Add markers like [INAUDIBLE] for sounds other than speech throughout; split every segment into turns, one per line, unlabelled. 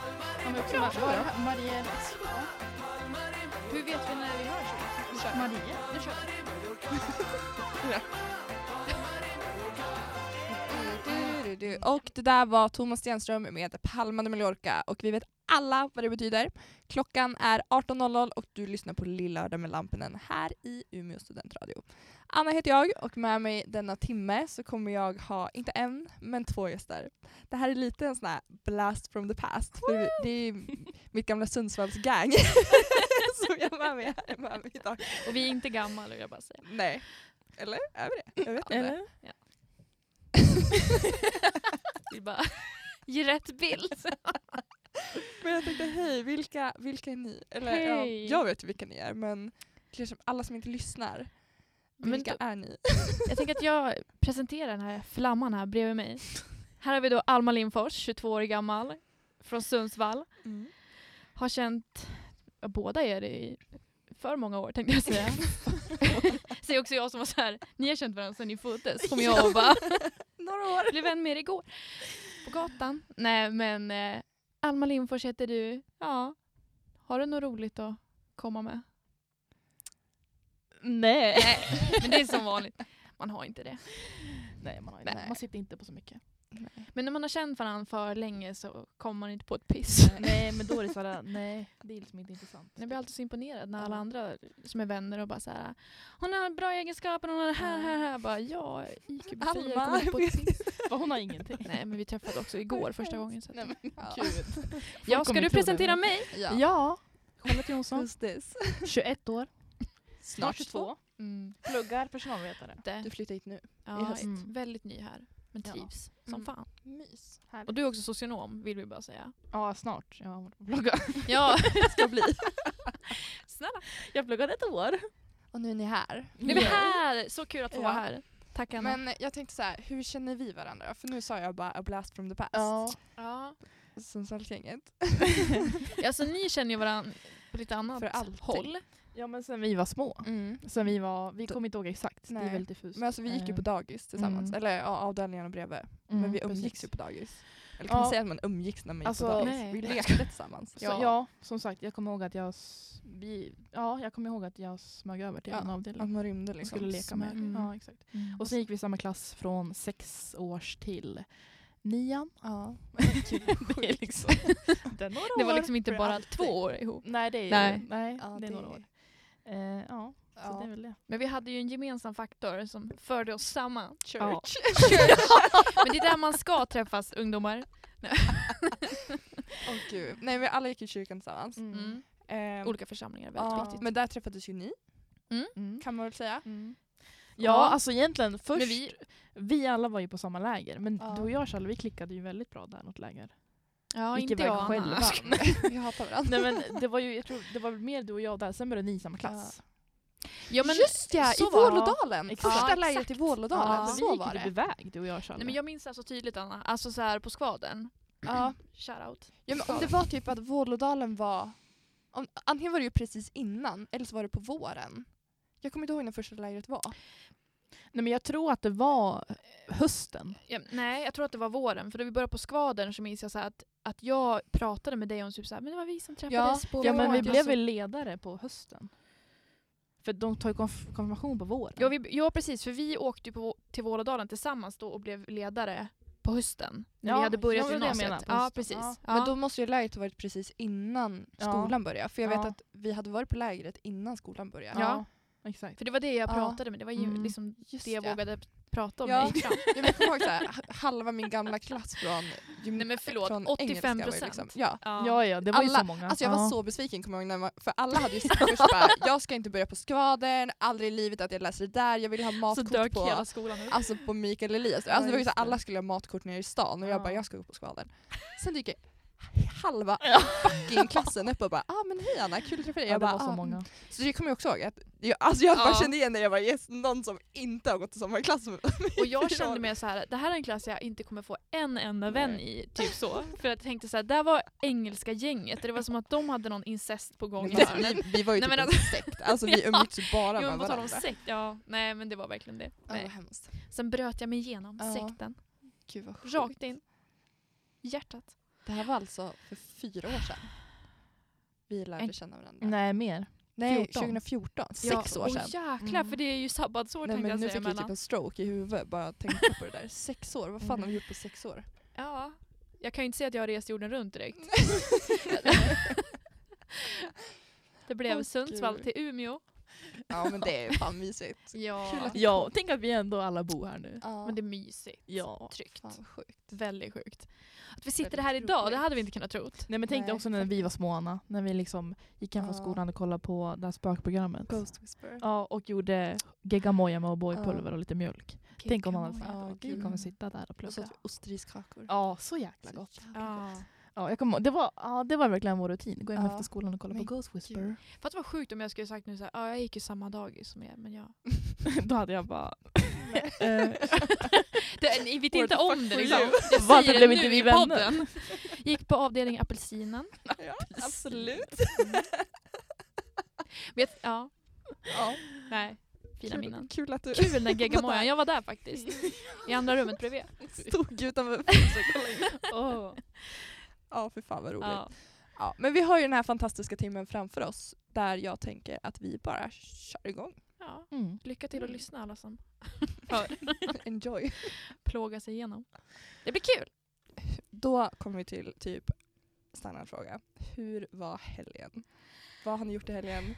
också
Bra,
värsta då.
Marie Less.
Hur vet vi när vi hörs? Nu kör vi.
Marie.
Nu kör vi.
Du, du, du. Och det där var Thomas Stenström med Palma de Mallorca och vi vet alla vad det betyder. Klockan är 18.00 och du lyssnar på Lillördag med Lampinen här i Umeå studentradio. Anna heter jag och med mig denna timme så kommer jag ha, inte en, men två gäster. Det här är lite en sån här blast from the past för vi- det är ju mitt gamla Sundsvallsgang [LAUGHS]
[LAUGHS]
som jag var med, är med mig idag.
Och vi är inte gamla vill jag bara säga.
Nej. Eller? Är vi det? Jag vet inte.
Eller?
Vi bara [LAUGHS] ger rätt bild.
Men jag tänkte, hej, vilka, vilka är ni? Eller
Hej.
ja, jag vet vilka ni är, men kanske alla som inte lyssnar.
Men
Vilka
då-
är [LAUGHS] ni?
Jag tänker att jag presenterar den här flamman här bredvid mig. Här har vi då Alma Lindfors, 22 år gammal, från Sundsvall.
Mm.
Har känt ja, båda er i för många år tänkte jag säga. [LAUGHS] Säger också jag som var så här, ni har känt varandra sedan ni föddes, kommer jag och bara.
Några år.
blev vän med er igår. På gatan. Nej men eh, Alma Lindfors heter du. Ja. Har du något roligt att komma med?
Nej.
[LAUGHS] Nej, men det är som vanligt. Man har inte det.
Nej, man, har,
Nej.
nej. man sitter inte på så mycket.
Men när man har känt varandra för länge så kommer man inte på ett piss.
nej, men då är det såhär, nej, det är liksom inte intressant.
Jag blir alltid så imponerad när alla
Ja.
andra som är vänner och bara så här. Hon har bra egenskaper, hon har det här, här, här. Bara, ja, IQ befriar,
Alma,
kommer inte på ett
vet [LAUGHS]
piss.
För hon har ingenting.
Nej men vi träffades också igår första gången. Så att,
Nej, men, ja.
Gud.
ja, ska
kommer
du
tro det,
presentera
men-
mig?
Ja.
Ja. Charlotte Jonsson,
Who's this?
21 år.
Snart 22.
Mm.
Pluggar personalvetare.
Det.
Du flyttar hit nu.
Ja,
i höst.
mm. väldigt ny här. Men
Ja.
trivs
Mm.
som fan.
Mys.
Och du är också socionom vill vi bara säga.
Ja, snart. Jag har varit på plugga.
[LAUGHS]
Ja,
Ska bli.
snälla.
Jag pluggade ett [LAUGHS] år.
Och nu är ni här.
Nu är vi här! Så kul att få
Ja.
vara här. Tack Anna.
Men jag tänkte så här, hur känner vi varandra? För nu sa jag bara a blast from the past.
Ja.
ja.
Sundsvallsgänget.
Alltså ni känner ju varandra på lite annat
För alltid.
håll.
ja, men sen vi var små.
Mm.
Sen vi var, vi kommer inte ihåg exakt. Det
Nej.
är väldigt diffust.
Men alltså vi gick ju på dagis tillsammans.
Mm.
Eller ja, avdelningarna bredvid.
Mm,
men vi umgicks
precis.
ju på dagis. Eller kan man
Ja.
säga att man umgicks när man gick
Alltså,
på dagis?
nej.
Vi lekte tillsammans.
Så, ja. som sagt, jag kommer ihåg att jag, s- vi, ja, jag kommer ihåg att jag smög över till
Ja,
en
Att
avdelning
man rymde
och
liksom.
skulle leka med.
smög.
Ja, exakt. Och sen gick vi i samma klass från sex års till nian.
Ja.
det är [LAUGHS] liksom, det, är några
[LAUGHS] Det var
år
liksom inte
för
bara
alltid.
två år ihop.
Nej, det är,
Nej.
nej. Nej,
Ja,
det är
det-
några år. Eh, ja, så det är väl det.
Men vi hade ju en gemensam faktor som förde oss samman.
Ja.
Church.
Men det är där man ska träffas ungdomar.
Åh gud. Nej vi alla gick i kyrkan tillsammans.
Mm.
Ehm,
Olika församlingar är väldigt
ja,
viktigt.
Men där träffades ju ni
Mm.
kan man väl säga.
Mm. Ja,
Ja.
alltså egentligen först,
Men
vi,
vi-
alla var ju på samma läger, men
Ja.
du och jag Charlie, vi klickade ju väldigt bra där något läger.
Ja,
Gick
inte
iväg
jag och
[LAUGHS]
Anna.
själva.
vi hatar varandra.
Nej men [LAUGHS] det var ju, jag tror, det var väl mer du och jag där, sen började ni i samma klass.
Ja, men,
Just ja, i
så var det.
Vålådalen.
Ja,
Första
exakt.
lägret i Vålådalen.
Ja.
Alltså, vi
Så
gick
var
ju typ
det.
iväg du och jag Charlie.
Nej, men jag minns det här så tydligt Anna. Alltså så här på skvaden.
Ja.
Shoutout.
Ja, men om det var typ att Vålådalen var... Om, antingen var det ju precis innan eller så var det på våren. Jag kommer inte ihåg när första lägret var.
Nej men jag tror att det var eh, hösten.
Ja, nej, jag tror att det var våren. För då vi började på skvadern så minns jag så här att, att jag pratade med dig om typ så här, men det var vi som träffades på
Ja men vi
våren.
blev väl ledare på hösten. För de tar ju konf- konfirmation på våren.
Ja, vi, ja precis, för vi åkte ju på, till Vålådalen tillsammans då och blev ledare på hösten. När vi
Ja,
hade börjat
ja, det var det jag
gymnasiet.
menar, på
ja,
hösten.
precis.
Ja.
Ja.
Men då måste ju lägret ha varit precis innan
Ja.
skolan började. För jag vet
Ja.
att vi hade varit på lägret innan skolan började.
Ja.
exakt.
För det var det jag
Ja.
pratade med. Det var ju
Mm.
liksom
Just
det jag
ja.
vågade prata om.
Ja.
när jag [LAUGHS] gick fram.
Ja, men jag kommer ihåg så här, h- halva min gamla klass från, gym-
Nej, men förlåt,
från
85%.
engelska var ju liksom- Ja.
Ja.
Ja ja, det var ju
Alla-
så många.
Alltså jag var
ja.
så besviken kommer jag ihåg, när man, för alla hade ju sagt först bara, jag ska inte börja på skvadern, aldrig i livet att jag läser det där, jag vill ha
Så
matkort
dök
på,
hela skolan upp.
alltså på Mikael Elias. Alltså det var ju
just
så här,
det.
alla skulle ha matkort nere i stan och jag
Ja.
bara, jag ska gå på skvadern. Sen dyker halva fucking klassen upp och bara, ah men hej Anna, kul att träffa dig.
Ja,
jag
det
bara,
var så
"Ah,
många.
Så det kommer jag också ihåg. Att jag, alltså jag bara
Ja.
kände igen det. Jag bara yes, någon som inte har gått i samma klass som
[LAUGHS] Och jag kände mig så här, det här är en klass jag inte kommer få en enda vän i. Typ så. För att jag tänkte så här, där var engelska gänget. Det var som att de hade någon incest på gång. i
Alltså,
hörnen.
vi, vi var ju
Nej,
typ
men
en sekt. Alltså vi
Ja.
umgicks ju bara
Jo men
med
på tal om
varandra.
sekt, ja. Nej men det var verkligen det.
Ja, vad
Nej.
hemskt.
Sen bröt jag mig igenom
Ja.
sekten.
Gud vad sjukt.
Rakt in. Hjärtat.
Det här var alltså för fyra år sedan. Vi lärde
En-
känna varandra.
Nej, mer.
Nej,
14.
2014. Sex år sedan. Mm.
Åh jäklar, för det är ju sabbatsår
Nej,
tänkte
men nu
jag säga
fick jag
emellan.
typ en stroke i huvudet bara jag tänkte på det [LAUGHS] där. Sex år, vad fan har vi gjort på sex år?
Ja. Jag kan ju inte säga att jag har rest jorden runt direkt.
[LAUGHS]
det blev
Åh,
Sundsvall
gud.
till Umeå.
[LAUGHS] Ja men det är fan mysigt. Kul
Ja.
att-
Ja, [LAUGHS] tänk att vi ändå alla bor här nu.
Ja,
Men det är mysigt.
Ja.
Tryggt.
fan vad sjukt.
Väldigt sjukt. Att vi sitter
Väldigt
här idag, det
roligt.
hade vi inte kunnat trot.
Nej men tänk dig
Nej,
också när vi var små Anna, när vi liksom gick hem från
Ja.
skolan och kollade på det här spökprogrammet.
Ghost Whisperer.
Ja, och gjorde geggamoja med O'boy-pulver
Ja.
och lite mjölk. Tänk om man hade sagt
Ja,
att vi
gud.
kommer sitta där och
Och så
plugga.
åt vi ostriskkakor.
Ja, så jäkla
Så
gott.
jävla
Ja.
Ja, jag kommer, det, var, ja, det var verkligen vår rutin. Gå hem
Ja.
efter skolan och kolla
Men
på Ghost Whisperer.
Fattar vad sjukt om jag skulle sagt nu såhär, ja jag gick ju samma dag som er men jag...
[LAUGHS] Då hade jag bara... eh,
Det, ni vet inte
What the
om
fuck were
det liksom.
you?
Jag
Varför
säger det
blev
nu
inte vi
i
vänner?
podden. Gick på avdelning apelsinen.
[LAUGHS]
Mm.
Ja, absolut.
Vet, ja,
Ja.
nej. Fina
Kul-
minnen.
Kul att du
Kul den geggamojan, jag var där faktiskt. I andra rummet bredvid.
stod utanför fönstret och kollade in.
åh.
Ja, för fan vad roligt. Ja.
Ja.
men vi har ju den här fantastiska timmen framför oss där jag tänker att vi bara kör [LAUGHS] igång.
Ja.
Mm.
Lycka till att lyssna alla som
Enjoy.
plågar sig igenom. Det blir kul!
Då kommer vi till typ standardfråga. Hur var helgen? Vad har ni gjort i helgen?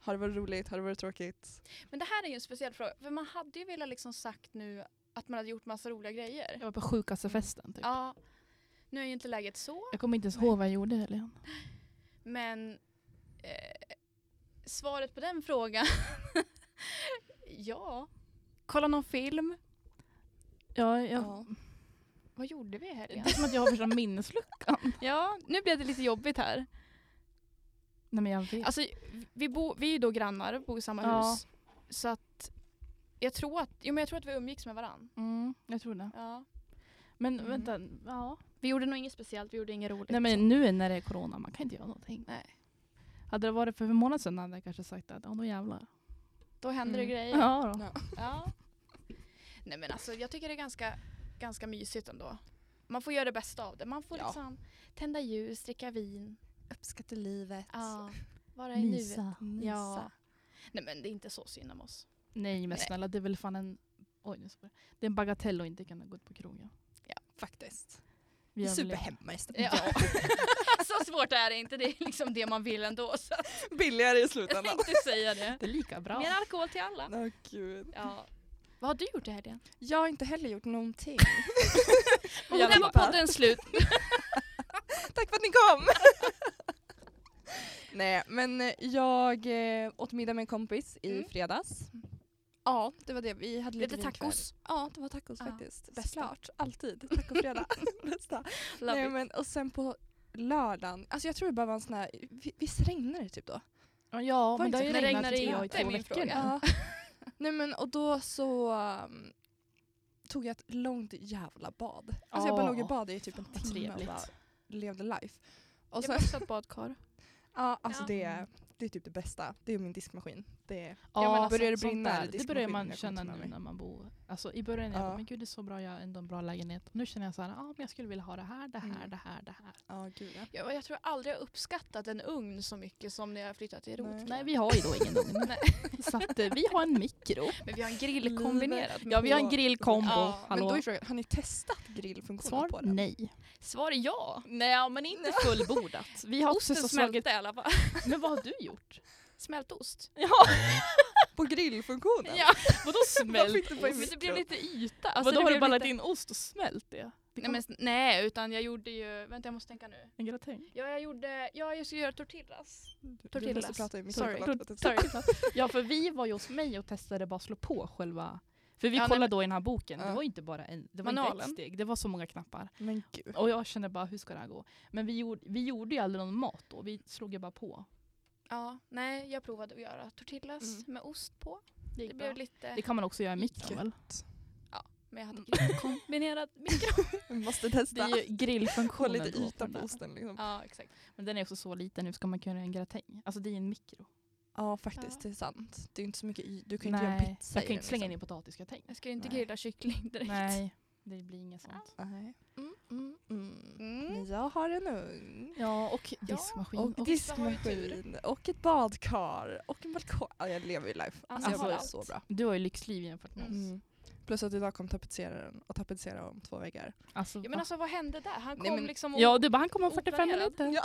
Har det varit roligt? Har det varit tråkigt?
Men det här är ju en speciell fråga. För man hade ju velat liksom sagt nu att man hade gjort massa roliga grejer.
typ.
Jag var på sjukaste festen typ.
Ja. Nu är ju inte läget så,
Jag kommer inte ens ihåg vad jag gjorde i helgen.
men eh, svaret på den frågan... ja.
Kolla någon film.
Ja, jag,
Vad gjorde vi i
Det
[LAUGHS]
helgen?
är som att jag har värsta minnesluckan.
Ja, nu blev det lite jobbigt här.
[LAUGHS] Nej men jag vet.
Alltså, vi, bo, vi är ju då grannar, bor i samma
Ja.
hus. Så att jag tror att, jo, men jag tror att vi umgicks med varandra.
Mm, jag tror det.
Ja.
Men
Mm.
vänta, ja.
Vi gjorde nog inget speciellt, vi gjorde inget roligt.
Nej men nu när det är corona, man kan inte göra någonting.
Nej.
Hade det varit för en månad sedan hade jag kanske sagt att ja, då jävlar.
Då händer
Mm.
det grejer.
Ja, då.
Ja.
Ja. Nej men alltså jag tycker det är ganska, ganska mysigt ändå. Man får göra det bästa av det. Man får
Ja.
liksom tända ljus, dricka vin,
Uppskattar livet.
ja, vara i nuet. Ja.
Ja.
Nej men det är inte så synd om oss.
Nej men
Nej.
snälla, det är väl fan en... Oj, nu spår jag. Det är en bagatell att inte kunna gå ut på krogen.
Faktiskt.
Vi har väl-
Superhemma istället.
Ja. [LAUGHS] så svårt är det inte, det är liksom det man vill ändå. Så att
[LAUGHS] Billigare
[LAUGHS]
i
jag
[LAUGHS] slutändan.
tänkte säga det.
Det är lika bra.
Mer alkohol till alla.
Åh gud.
Ja. Vad har du gjort i helgen?
Jag har inte heller gjort [LAUGHS] någonting.
Och där var podden
[LAUGHS]
slut.
Tack för att ni kom! [LAUGHS] Nej, men eh, jag eh, åt middag med en kompis i
Mm.
fredags. Ja, det var det. Vi hade lite
Lite
vinkväll.
tacos.
Ja, det var tacos
Ja,
faktiskt.
bästa.
Såklart, alltid. [LAUGHS] Tacofredag. Bästa.
Love
Nej,
it.
men, och sen på lördagen, alltså jag tror det bara var en sån här, vi- visst regnade det typ då?
Ja, Ja, men
inte
det har ju
så- Men
regnat
regnar det
i tre-
inte,
i två
är min
veckor
fråga.
nu.
Ja. [LAUGHS] Nej men och då så um, tog jag ett långt jävla bad. Alltså jag bara
Ja.
låg i bad i typ en
vad
timme och
trevligt.
bara levde life. Och
Jag
sen,
måste ha ett badkar.
ja, alltså
Ja.
Det, är, det är typ det bästa. Det är min diskmaskin. Det är,
Ja,
Ja, men
alltså,
börjar det
sånt
brinna?
där,
det
diskmaskinen
börjar man
jag kommer
känna
inte med
nu
mig.
när man bor... Alltså i början när jag
Ja.
bara, men gud det är så bra, jag har ändå en bra lägenhet. Nu känner jag så här, ja men jag skulle vilja ha det här, det här,
Mm.
det här, det här.
ja gud ja.
Jag, jag tror aldrig jag uppskattat en ugn så mycket som när jag flyttat till
Nej.
Rotkvarn.
Nej vi har ju då ingen [LAUGHS] ugn. så att eh, vi har en mikro.
Men vi har en grill kombinerat.
Ja vi har en
På-
grillkombo.
Ja,
Men då
Hallå?
är frågan, har ni testat grillfunktionen
Svar
på den?
nej.
Svar är ja.
[LAUGHS] Nej men inte fullbordat. Vi har också
Osten
så
smälte
slagit...
i alla fall.
Men vad har du gjort?
Smält ost.
[LAUGHS] Ja,
På grillfunktionen?
Ja,
vadå smält?
fick du på
men det blev lite yta. Alltså,
Vadå
det
har
blev
du ballat
lite-
in ost och smält det? det
Nej, men, s- nej, utan jag gjorde ju... Vänta, jag måste tänka nu.
En gratäng?
Ja, jag gjorde... Ja, jag skulle göra tortillas.
Du, du måste
Tortillas.
prata i mitt
Sorry.
ögon också.
Ja för vi var ju hos mig och testade bara slå på själva för vi
Ja, nej,
kollade då i den här boken,
Ja.
det var ju inte bara en, det var inte ett
Manualen.
steg, det var så många knappar.
Men gud.
Och jag kände bara, hur ska det här gå? Men vi gjorde, vi gjorde ju aldrig någon mat då, vi slog ju bara på.
Ja, nej, jag provade att göra tortillas
Mm.
med ost på.
Det,
Det Mm.
gick bra.
blev lite...
det kan man också göra i mikron väl?
Men jag hade grill [LAUGHS] kombinerat mikro.
Vi måste
Det
testa.
är ju
[LAUGHS] Få
grillfunktionen.
lite
då
yta på
den.
osten liksom.
Ja, exakt.
Men den är också så liten, hur ska man kunna göra en gratäng? Alltså det är en mikro.
Ja faktiskt,
Ja.
det är sant. Det är inte så mycket i, du kan ju inte göra en pizza
jag kan ju
den,
inte slänga
liksom.
in i potatisgratäng.
Jag skulle inte
Nej. [LAUGHS]
grilla kyckling direkt.
Nej. Det blir inget sånt.
Nej. Mm, mm, mm.
Mm.
Men jag har en ugn.
Ja, och
Ja,
diskmaskin.
Och,
och-
vissa har ju tur.
diskmaskin. Och ett badkar. Och en balkong. Ja, jag lever ju life. Alltså, jag
har
har det
allt.
så bra.
Du har ju lyxliv jämfört med oss.
Mm. Plus att idag kom tapetseraren och tapetserade om två väggar.
Alltså,
Ja men alltså vad hände där? Han
Nej,
kom
men-
liksom och...
ja, du bara han kommer om 45
Oplanerad.
minuter. [LAUGHS]
Ja.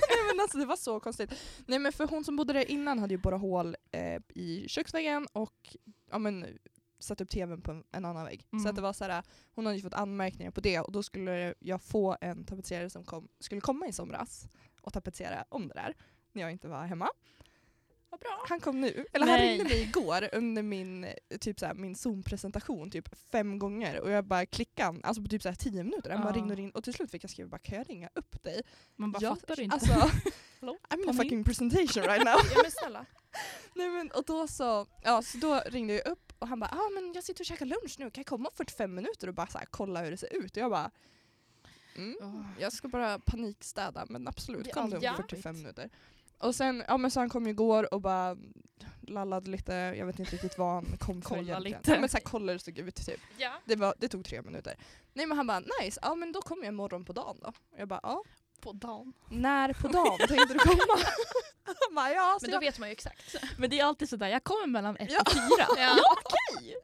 Nej, men alltså, det var så konstigt. Nej men för hon som bodde där innan hade ju borrat hål eh, i köksväggen och ja, men, satt upp tvn på en, en annan vägg. Så
Mm.
att det var så här, hon hade ju fått anmärkningar på det och då skulle jag få en tapetserare som kom, skulle komma i somras och tapetsera om det där när jag inte var hemma.
Vad bra.
Han kom nu, eller han
Nej.
ringde mig igår under min, eh, typ så här, min Zoom-presentation typ fem gånger och jag bara klickade han, alltså på typ så här tio minuter. Han bara
Ja.
ringde och ringde och till slut fick jag skriva bara kan jag ringa upp dig?
Man bara fattar du inte.
Alltså,
Hallå?
I'm in a
Kom in.
fucking presentation right now.
Ja men snälla.
[LAUGHS] Nej, men, och då så, ja, så då ringde jag upp och han bara ah, men jag sitter och käkar lunch nu, kan jag komma om 45 minuter och bara så här, kolla hur det ser ut? Och jag bara mm,
Åh.
jag ska bara panikstäda men absolut
Ja,
kom du om
ja.
45 minuter. Och sen, ja men så han kom ju igår och bara lallade lite, jag vet inte riktigt vad han kom för
Kolla
egentligen.
lite.
Ja, men så här, kolla hur det såg ut typ.
[LAUGHS] Ja.
Det, var, det tog tre minuter. Nej men han bara nice, ja men då kommer jag imorgon på dagen då. Och jag bara ja.
på dagen.
När
[LAUGHS]
på dagen tänkte du [LAUGHS] komma? Han bara, ja, så
Men då
jag,
vet man ju [LAUGHS] exakt.
Men det är alltid sådär, jag kommer mellan ett
Ja.
och fyra.
[LAUGHS]
Ja.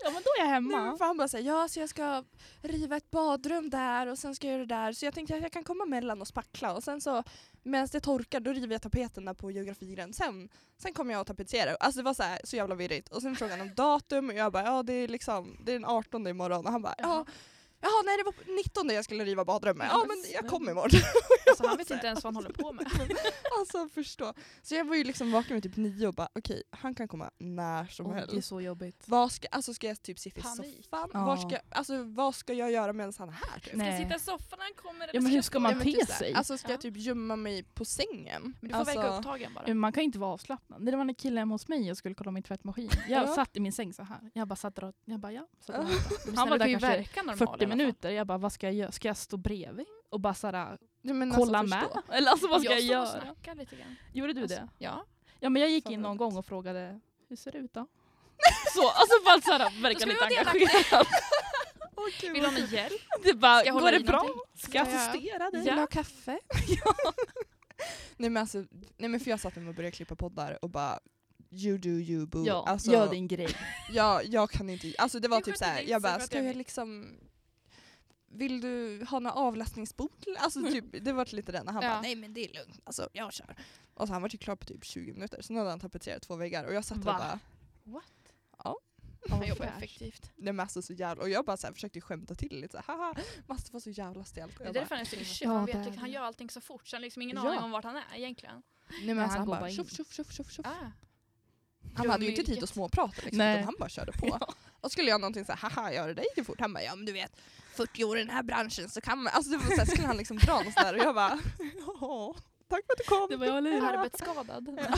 Ja men då är jag
Nej,
hemma.
men Mm, för han bara säger ja så jag ska riva ett badrum där och sen ska jag göra det där så jag tänkte att jag kan komma mellan och spackla och sen så medan det torkar då river jag tapeterna på geografiren sen, sen kommer jag och tapetserar. Alltså det var så, här, så jävla virrigt och sen frågade han om datum och jag bara ja det är liksom det är den 18 imorgon och han bara ja Jaha nej det var 19 jag skulle riva badrummet. Ja men jag kommer imorgon. [LAUGHS]
Alltså, han vet inte ens vad han håller på med.
Alltså förstå. Så jag var ju liksom vaken vid typ nio och bara okej han kan komma när som
Åh, det är
helst.
så jobbigt.
Vad ska, alltså ska jag typ sitta i
Panik.
soffan?
Ja.
Var ska, alltså, vad ska jag göra medan han är här? Typ?
Nej.
Sitta i soffan när han kommer. eller
Ja, men hur
jag
ska
stå-
man
Ja, men-
te
typ så här,
sig?
Alltså ska
Ja.
jag typ gömma mig på sängen?
Men du får
alltså,
väga upptagen bara.
Men Man kan ju inte vara avslappnad. Det var när killen hemma hos mig och skulle kolla min tvättmaskin. Jag
Ja.
satt i min säng så här. Jag bara satt och jag bara ja. Satt och
Ja.
väntade. Men
Han
snälla,
bara,
det
typ
du kan ju
kanske
verka
är
normal i alla
40
fall.
minuter. Jag bara vad ska jag göra? Ska jag stå bredvid och bara så här,
Ja, men
kolla
alltså, förstå.
med? Eller alltså vad ska jag,
jag Jag
göra?
snackar lite grann.
Gjorde du
Alltså,
det?
Ja.
Ja men jag gick
Fan,
in
vad
någon
roligt.
gång och frågade hur ser det ut då? Så, alltså bara så här, verkar
skulle
lite
jag vara
engagerad.
Åh,
[LAUGHS]
gud,
Vill du
vad
ha någon hjälp?
Det bara,
Ska jag
går
hålla
det
i
bra?
någonting?
Ska jag
Ska jag-
assistera dig?
Vill du ha kaffe? nej men alltså, nej men för jag satt hemma och började klippa poddar och bara You do you boo.
Ja,
alltså,
gör din
[LAUGHS]
grej.
ja, jag kan inte, alltså det var
Du
typ
sköter
såhär,
dig,
jag
så
bara
sköter
ska
jag
jag
mig.
liksom vill du ha någon avlastningsbok? [LAUGHS] Alltså typ, det var lite den. Han
Mm. Ja.
bara nej men det är lugnt, alltså jag kör. Och så han var ju klar på typ 20 minuter, sen hade han tapetserat två väggar och jag satt där
Va?
och bara
Han jobbar effektivt.
Nej men alltså så jävla, och jag bara så här, försökte skämta till lite såhär, haha, Master var så jävla stelt. Och
Det är
jag bara,
därför han är så klyschig.
Ja,
Han,
där.
vet, liksom- han gör allting så fort så han har liksom ingen
Ja.
aning om vart han är egentligen.
nej men
han
alltså, han,
går bara
bara
in.
tjoff tjoff tjoff tjoff tjoff.
Ah.
Han
Dum
hade ju inte
i
tid
yrket.
att småprata liksom,
Nej.
utan han bara
[LAUGHS]
körde på. Och skulle jag någonting såhär, haha gör det dig för fort? Han bara, ja men du vet 40 år i den här branschen så kan man, alltså det var såhär, skulle han liksom dra någonstans där och jag bara, [LAUGHS] ja tack för att du kom.
Det var jag eller
Arbetsskadad. [LAUGHS]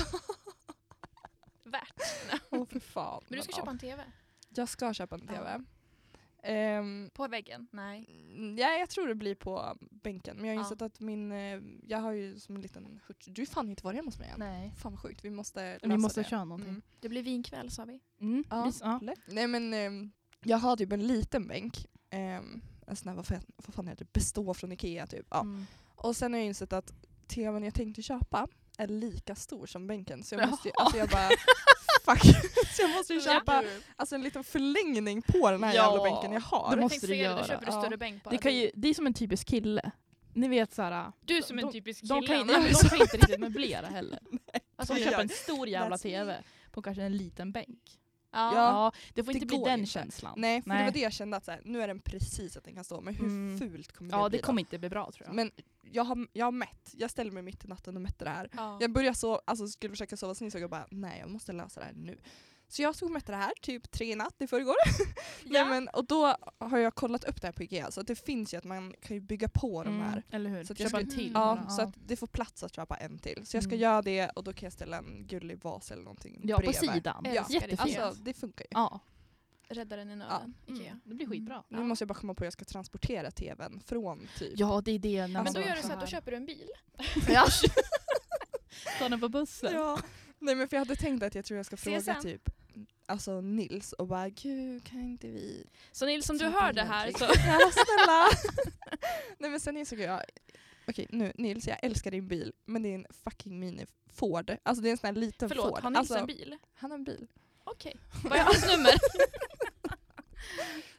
Värt.
[LAUGHS] Åh för fan.
Men du ska
ja.
köpa en TV.
Jag ska köpa en TV.
Ja.
Ehm,
På väggen? Nej.
Mm, Ja, jag tror det blir på bänken. Men jag har
Ja.
insett att min, eh, jag har ju som en liten hurt. Du har fan inte varit hemma hos mig än.
Nej.
Fan vad sjukt, vi måste lösa
Vi måste
det.
köra någonting.
Mm.
Det blir vinkväll sa vi.
Mm.
Ja.
visst, ja.
Lätt. Nej men ehm, jag har typ en liten bänk. Ehm, en sån här, vad fan, vad fan heter det, bestå från Ikea typ. Ja.
Mm.
Och sen har jag insett att tvn jag tänkte köpa är lika stor som bänken så jag
Jaha.
måste ju, alltså jag
[LAUGHS]
bara fuck. Så jag måste ju
Ja.
köpa alltså en liten förlängning på den här
Ja.
jävla bänken jag har.
Det
Jag
måste
tänkte
du
säga det,
göra.
då köper du
Ja.
större bänk bara.
Det, kan ju, det är som en typisk kille. Ni vet såhär,
Du är som en
de-
typisk kille. [LAUGHS]
de kan, ju-
Anna.
nej, men de kan inte riktigt möblera
[LAUGHS]
heller. Alltså de
det
köper
gör-
en stor jävla
That's me.
TV på kanske en liten bänk.
Ja.
Ja,
Ja.
det får
Det
inte bli
går
den
inte.
känslan.
Nej, för det
Nej.
var det jag kände att så här, nu är den precis att den kan stå, men hur
Mm.
fult kommer
ja,
det
det
bli?
kommer inte bli bra tror jag.
Men jag har, jag har mätt, jag ställde mig mitt i natten och mätte det här.
Ja.
Jag började så, alltså skulle försöka sova, sen insåg jag bara nej jag måste lösa det här nu. Så jag stod och mätte det här typ tre i natt i förrgår. Nej, men, och då har jag kollat upp det här på Ikea, så att det finns ju att man kan ju bygga på de här.
Mm, eller hur?
Så att jag
Köpa en
skulle-
till.
Mm.
Ja,
bara,
så att det får plats att köpa en till. Så jag ska
Mm.
göra det och då kan jag ställa en gullig vas eller någonting
ja på
bredvid.
sidan.
Ja.
Jättefint.
Alltså det funkar ju.
ja.
Räddaren i nöden, Ikea.
Mm. Det blir skitbra.
Nu måste jag bara komma på hur jag ska transportera tvn från typ
Ja, det är det. När
Ja,
Alltså,
Men
man
då
bara
gör du så att då
Alltså, här,
köper du en bil.
Ta den på bussen.
Ja. Nej men för jag hade tänkt att jag tror jag ska fråga
CSN.
typ alltså, Nils och bara gud kan inte vi...
Så Nils, om du
släppa
hör det
igenom
här
Trix?"
så... [LAUGHS]
Snälla, snälla! [LAUGHS] Nej men sen insåg jag, okej nu Nils jag älskar din bil men det är en fucking mini Ford. Alltså det är en sån här liten
Förlåt,
Ford.
har Nils
alltså,
en bil?
Han har en bil.
Okej. Vad är hans nummer?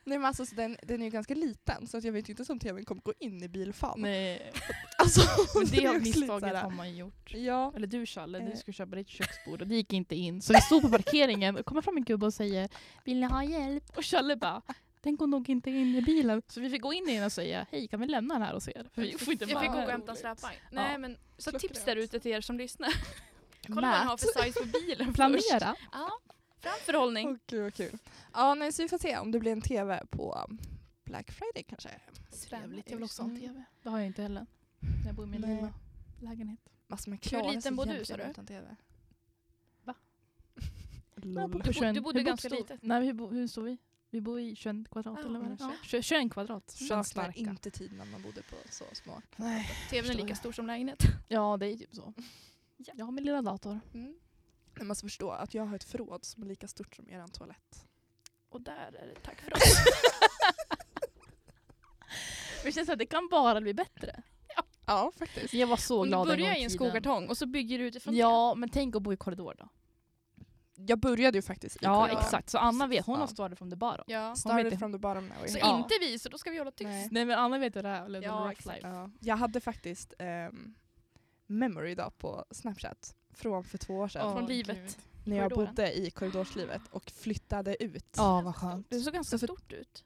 Nej men alltså så den, den är ju ganska liten så att jag vet ju inte om tvn kommer gå in i bilfan.
Nej,
[LAUGHS]
Alltså,
men
det är
det har
också lite
misstaget
såhär-
har man ju gjort.
Ja.
Eller du Challe,
Eh.
du skulle köpa ditt köksbord och det gick inte in. Så vi stod på parkeringen och kommer fram en gubbe och säger Vill ni ha hjälp? Och Challe bara Den går nog inte in i bilen. Så vi fick gå in i den och säga Hej kan vi lämna den här hos er? För vi får inte
Jag
vara
fick gå och
här.
hämta en släpvagn. Nej,
Ja.
men, så
Klockrent.
tips där ute till er som lyssnar. Kolla vad den har
Mät.
för size
[LAUGHS]
på bilen först.
Planera.
Ja, framförhållning.
Åh gud vad kul. Ja nej så vi får se om det blir en tv på um, Black Friday kanske.
Trevligt,
jag vill också ha en
Mm.
tv. Det har jag inte heller. Jag bor i min
Nej.
lilla lägenhet.
Alltså man klarar
liten
sig
bor du,
egentligen
sa du?
utan tv.
Va?
Lol.
På 21 du bodde ganska litet.
Nej, hur, bo, hur står vi? Vi bor i 21 kvadrat
Ja,
eller vad
men
det är. 21 21 kvadrat.
Känslan
Starka.
Mm. inte tid när man bodde på så små.
Nej.
Tvn är
förstår
lika
jag.
stor som lägenhet.
Ja, det är typ så. Jag har min lilla dator.
Mm. Man måste förstå att jag har ett förråd som är lika stort som eran toalett.
Och där är det
[LAUGHS]
tack för oss.
[LAUGHS] Det känns att det kan bara bli bättre.
Ja faktiskt.
Alltså, Jag var så
Om du
glad en gång
börjar i en
tiden.
skokartong och så bygger du utifrån
Ja, men tänk att bo i korridor då.
Jag började ju faktiskt i
Ja,
korridoren.
exakt. Så Anna vet, hon
Ja.
har startat från the bottom.
det. Ja.
Hon
Started
vet-
from the bottom now.
Så
Ja.
inte vi, så då ska vi hålla tyst.
Nej.
Nej men Anna vet hur det är,
Ja,
ja, rock
exakt.
life.
Ja. Jag hade faktiskt ehm, memory idag på Snapchat från för två år sedan
Från
Åh,
livet.
gud.
när jag
korridoren.
bodde i korridorslivet och flyttade ut.
Ja, vad skönt.
Det såg ganska
Så för-
stort ut.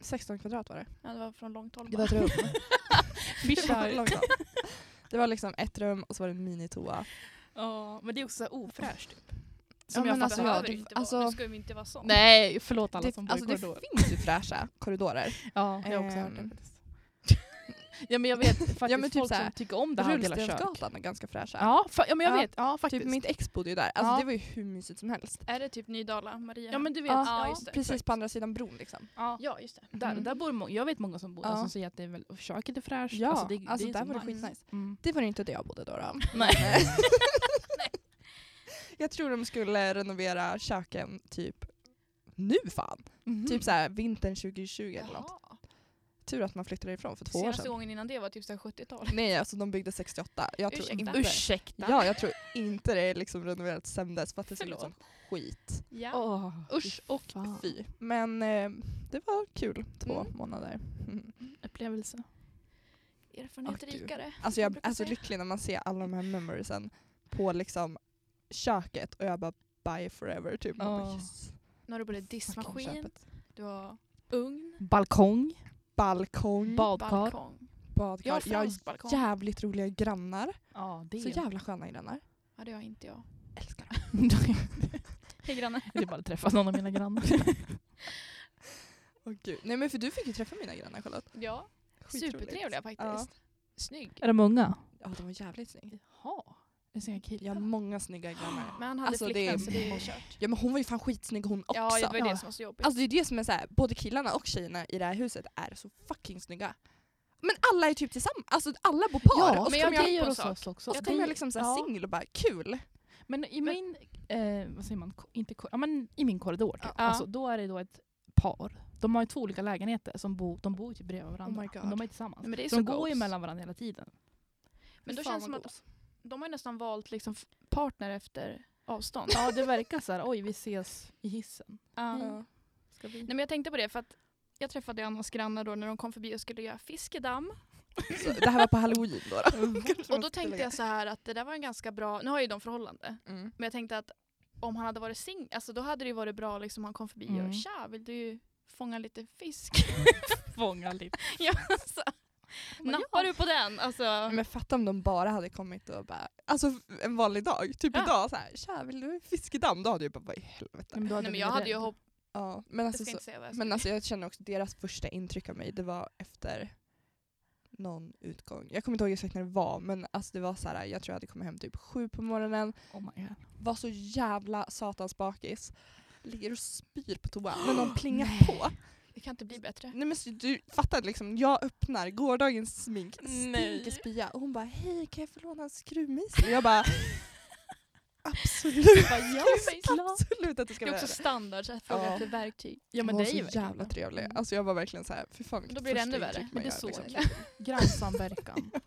16 kvadrat [LAUGHS] var det.
Ja, det var från långt håll
Det
bara.
var ett [LAUGHS] rum.
Fish
Det var
out.
långt av. Det var liksom ett rum och så var det en minitoa.
Ja, men det är också så här ofräscht. Typ.
Ja,
Som
men
jag
Fast
alltså,
fattar.
behöver
det-
det inte
alltså-
vara. Nu ska vi inte vara sån.
Nej, förlåt alla
Det,
som bor
alltså,
i
det
korridor.
finns ju [LAUGHS] fräscha korridorer.
Ja, jag har också hört det
Ehm.
faktiskt. [LAUGHS] ja men jag vet faktiskt
Ja, men typ
folk
så här,
som tycker om det här och delar kök.
Rullstensgatan är ganska fräscha.
Ja, fa- ja men jag
Ja,
vet, ja faktiskt.
Typ mitt ex bodde ju där. Alltså
Ja.
det var ju hur mysigt som helst.
Är det typ Nydala, Maria?
ja men du vet.
Ja,
ja, just det.
Precis på andra sidan bron liksom.
Ja.
Ja, just det.
Där,
Mm.
där bor många, jag vet många som bor där
Ja.
som säger att det är väl, och köket är fräscht.
Ja, alltså,
det, är
där
så
var det
nice.
skitnice.
Mm.
Det var ju inte det jag bodde då. då.
Nej.
[LAUGHS] Jag tror de skulle renovera köken typ nu fan.
Mm.
Typ såhär vintern 2020 eller något.
Jaha.
Tur att man flyttade ifrån för två år
Senaste
sedan.
gången innan det var typ så här 70-tal.
Nej alltså de byggde 68. Jag tror
Ursäkta.
inte.
Ursäkta.
Ja jag tror inte det är liksom renoverat sen dess för att det ser ut som
Förlåt.
skit.
Ja.
Åh,
Usch och
fan.
Fy. Men eh, det var kul två
Mm.
månader. [LAUGHS] Mm.
Upplevelse.
erfarenhet
Åh, gud.
rikare.
Alltså jag
brukar
är så
säga.
lycklig när man ser alla de här memoriesen på liksom köket och jag bara bye forever typ. Man bara,
Ja.
yes.
Nu har du både
Fucking
diskmaskin,
köpet.
du har ugn,
Balkong.
Balkong,
Badkar.
balkong. Jag har
badkar. Jag har
fransk balkong.
jävligt roliga grannar.
Ja, det
Så jävla sköna grannar.
Ja, det har inte jag.
Älskar dem.
[LAUGHS]
Hej granne.
Jag vill bara träffa någon av mina
[LAUGHS]
grannar.
Åh gud. Nej men för du fick ju träffa mina grannar Charlotte.
Ja,
Skitroligt.
supertrevliga faktiskt.
Ja.
Snygg.
är de unga?
Ja de var jävligt snygga.
Jaha. Det är snygga
Jag har
killar.
många snygga grannar.
Men han hade
Alltså, det
flickvän
är-
så det är ju kört.
Ja men hon var ju fan skitsnygg hon också.
Ja, det var ju det
Ja.
som var så jobbigt.
Alltså det är det som är såhär, både killarna och tjejerna i det här huset är så fucking snygga. Men alla är typ tillsammans, alltså alla bor par.
Ja,
och så kommer
men jag
jag,
det
tänker
gör
på
hos
en
oss också.
så kommer
Det-
jag liksom såhär
ja.
singel och bara kul.
Men i
Men-
min, eh, vad säger man, Ko- inte kor- ja, men i min korridor typ.
Ja.
alltså, då är det då ett par. De har ju två olika lägenheter, som bo, de bor ju typ bredvid varandra.
Oh my God.
Men de är tillsammans.
Nej, men det är
så
så
de går ju
goals.
mellan varandra hela tiden.
Men då
Fan
känns det som
vad
att
gos.
de har ju nästan valt liksom f- partner efter avstånd.
Ja det verkar så här, oj vi ses i hissen.
Ja.
Ja.
Ska vi?
Nej, men jag tänkte på det för att jag träffade Annas grannar då när de kom förbi och skulle göra fiskedamm.
[LAUGHS] Så, det här var på halloween då.
[LAUGHS]
då. Kanske
Mm. Och då
måste
tänkte
tillägga.
jag så här att det där var en ganska bra, nu har ju de förhållande,
Mm.
men jag tänkte att om han hade varit singel, alltså då hade det ju varit bra liksom om han kom förbi
Mm.
och tja, vill du fånga lite [LAUGHS] fisk?
Fånga lite.
ja, [LAUGHS] alltså,
bara,
nappar du på den? Alltså,
Men fatta om de bara hade kommit och bara, alltså en vanlig dag, typ
Ja.
idag såhär “tja vill du fiskedamm?” Då hade jag bara “vad i helvete?”
då
nej, men jag hade ju hopp,
ja, men,
jag
alltså,
ska
så,
inte säga vad jag ska.
men alltså jag känner också deras första intryck av mig, det var efter någon utgång. Jag kommer inte ihåg exakt när det var men alltså det var så här, jag tror jag hade kommit hem typ sju på morgonen,
Oh my god.
var så jävla satans bakis. Ligger och spyr på toa men de plingar
Nej.
på.
Det kan inte bli bättre.
Nej men så du fattar liksom, jag öppnar gårdagens smink,
Nej.
stinker spya och hon bara hej kan jag få låna en skruvmejsel? Och jag bara Absolut.
Bara, ja, men klart.
Absolut att du
det
ska
är
vara
också
det.
standard, så här, fråga
Ja.
efter verktyg.
Ja
Hon
men
var
det är ju
så jävla trevlig. Alltså jag var verkligen så här, fy fan vilket
Då blir det
första
ännu värre.
intryck
Men
man
det
gör, liksom.
såg
[LAUGHS]
jag.
grannsamverkan.
Ja,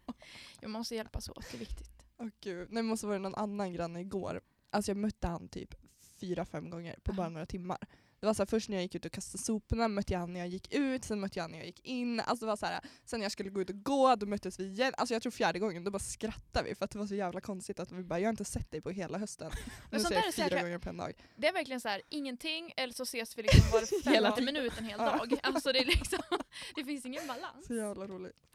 Man måste hjälpas åt, det är viktigt.
Åh gud. Nej, men måste vara någon annan granne igår. Alltså jag mötte han typ fyra, fem gånger på bara
Ja.
några timmar. Det var så här, först när jag gick ut och kastade soporna mötte jag han när jag gick ut, sen mötte jag han när jag gick in. Alltså det var så här, sen när jag skulle gå ut och gå, då möttes vi igen. Alltså jag tror fjärde gången, då bara skrattade vi för att det var så jävla konstigt att vi bara, jag har inte sett dig på hela hösten. Men nu
sånt
ser
där är
jag fyra
säkert-
gånger på en dag.
Det är verkligen så här, ingenting eller så ses vi liksom [LAUGHS] var
Hela
femte minut en hel
Ja.
dag. Alltså det, är liksom, [LAUGHS] det finns ingen balans.
Så jävla roligt.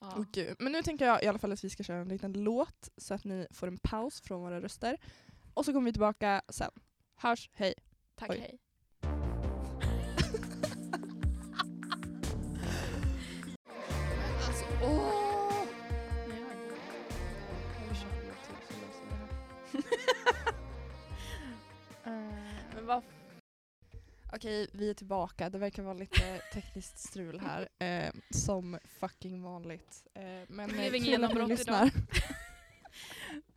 Ja.
Åh gud. Men nu tänker jag i alla fall att vi ska köra en liten låt så att ni får en paus från våra röster. Och så kommer vi tillbaka sen. Hörs, hej.
Tack,
Oj.
hej.
Alltså, åh!
Eh, Men vad
Okej, vi är tillbaka. Det verkar vara lite tekniskt strul här. Eh, som fucking vanligt. Eh, men
blev
eh,
inget
kul att ni
genombrott
lyssnar.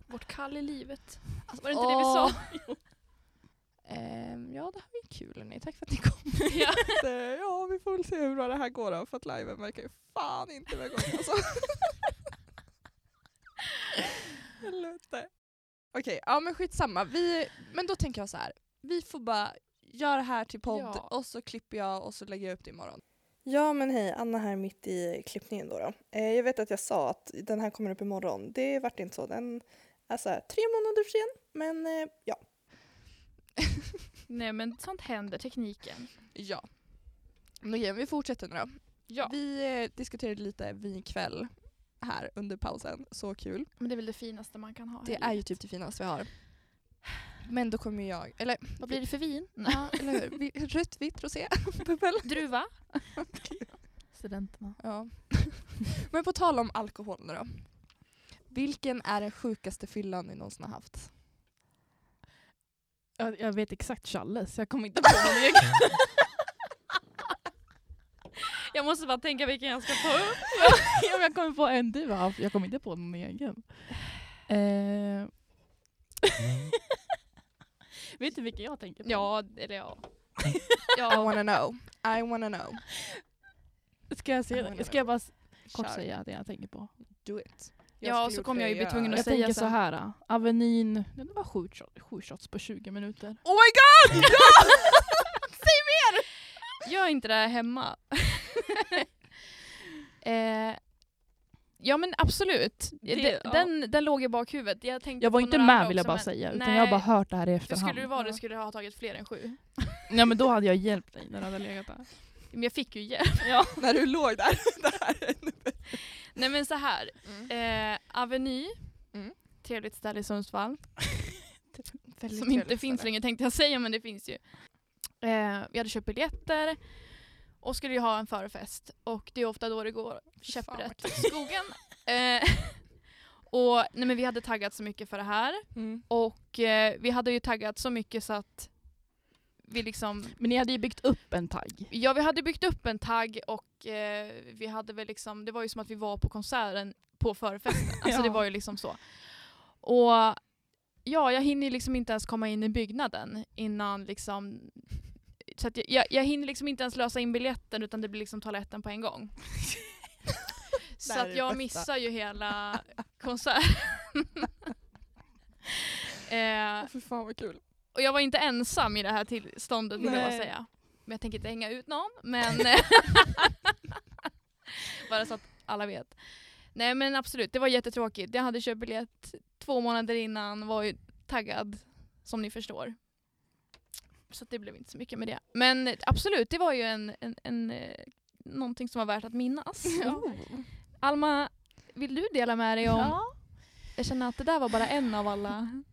vårt kall i livet. Var det inte det vi sa?
Åh.
[LAUGHS]
Ehm, ja, det här var ju kul hörni. Tack för att ni kom.
Ja.
Eh, ja, vi får väl se hur bra det här går då. För att liven verkar ju fan inte vara igång [LAUGHS] alltså. Helvete. Okej, ja men skitsamma. Vi, men då tänker jag så här. Vi får bara göra det här till podd
Ja.
och så klipper jag och så lägger jag upp det imorgon. Ja men hej, Anna här mitt i klippningen då. då. Eh, jag vet att jag sa att den här kommer upp imorgon. Det vart inte så. Den är så här, tre månader sen. Men eh, ja.
Nej men sånt händer, tekniken.
Ja. Men okej, vi fortsätter nu då.
Ja,
Vi eh, diskuterade lite vinkväll här under pausen. Så kul.
men det är väl det finaste man kan ha.
Det
i
är ju
livet.
typ det finaste vi
[SIGHS]
har. Men då kommer jag, eller,
Vad blir det för vin?
ja, eller hur? [LAUGHS] Vi- Rött, vitt, rosé, [LAUGHS] bubbel.
Druva?
Studenterna.
Ja. [LAUGHS] Men på tal om alkohol nu då. Vilken är den sjukaste fyllan ni någonsin har haft?
Jag, jag vet exakt Challes, jag kommer inte på någon egen.
[LAUGHS] Jag måste bara tänka vilken jag ska ta
[LAUGHS]
upp.
Om jag kommer på en du har haft, jag kommer inte på någon egen.
[LAUGHS]
Eh. vet du vilken jag tänker på?
Ja, eller ja.
I
ja.
wanna know. I wanna know.
Ska jag,
Ja, men-
se, ska jag bara s- kort
Kör.
säga det jag tänker på?
Do it.
Ja,
skulle
och så
gjort
kommer
det
jag ju bli tvungen
gör.
att
Jag
säga
tänker så
sen.
här. ah, Avenin, ja, det var sju, shot- sju shots på 20 minuter.
Oh my god! [LAUGHS] Ja!
Gör inte det här hemma. [LAUGHS] eh, ja men absolut.
Det-
Det,
ja.
den, den låg i bakhuvudet. Jag, tänkte
Jag var
på
inte
några
med
andra
vill jag
också,
bara
men-
säga, utan
Nej,
jag har bara hört det här i
För
efterhand.
skulle du vara det skulle du ha tagit fler än sju.
Ja men då hade jag hjälpt dig när du hade legat där.
Men jag fick ju hjälp. Ja.
När du låg där. [LAUGHS] det här är ännu bättre.
Nej men så här. Eh, Aveny.
Mm.
Trevligt ställe i Sundsvall.
Väldigt Mm.
som inte
trevligt
finns
ställe.
längre tänkte jag säga, men det finns ju. Eh, vi hade köpt biljetter och skulle ju ha en förfest och det är ofta då det går
fan, vad
käpprätt i skogen. Eh, [LAUGHS] och nej, men vi hade taggat så mycket för det här
Mm.
och eh, vi hade ju taggat så mycket så att vi liksom
Men ni hade ju byggt upp en tagg.
Ja, vi hade byggt upp en tagg och eh, vi hade väl liksom, det var ju som att vi var på konserten
[LAUGHS]
på förfesten. Alltså
Ja.
det var ju liksom så. Och ja, jag hinner ju liksom inte ens komma in i byggnaden innan liksom så att jag, jag, jag hinner liksom inte ens lösa in biljetten utan det blir liksom toaletten på
[LAUGHS]
en gång.
Det
så
här är
att
det
jag
bästa.
missar ju hela konserten.
[LAUGHS]
eh,
Fy fan vad kul.
och jag var inte ensam i det här tillståndet vill jag bara
Nej.
säga. Men jag tänker inte hänga ut någon, [LAUGHS] men bara så att alla vet. Nej men absolut, det var jättetråkigt. Jag hade köpt biljett två månader innan, var ju taggad som ni förstår. Så att det blev inte så mycket med det. Men absolut, det var ju en, en, en, eh, någonting som var värt att minnas. Alma, vill du dela med dig om? Jag känner att det där var bara en av alla.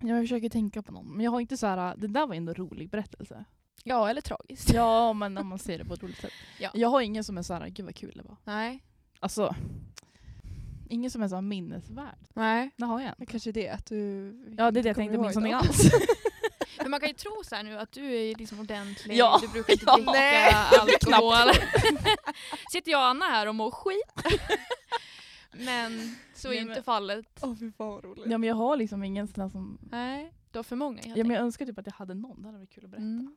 Jag försöker tänka på någon, men jag har inte så här. det där var ändå en rolig [LAUGHS] berättelse.
Ja, eller tragiskt.
Ja men om man ser det på ett roligt sätt.
Ja.
Jag har ingen som är såhär, gud vad kul det var.
Nej.
Alltså, ingen som är såhär minnesvärd.
Nej.
Det har jag
Men
en.
kanske det att du
Ja det är
inte
det jag tänkte,
kommer
minns
ihåg [LAUGHS]
någonting
dem.
alls.
Men man kan ju tro så här nu att du är liksom ordentlig,
Ja,
du brukar inte
ja.
dricka
Nej, [LAUGHS]
[LAUGHS] alkohol. Sitter jag och Anna här och mår skit.
Men så är
Nej,
ju inte
men-
fallet.
Åh fy fan vad roligt.
[LAUGHS] Ja, men jag har liksom ingen sån här som...
Nej, du har för många helt
Ja, men jag önskar typ att jag hade någon. Det hade varit kul att berätta.
Mm.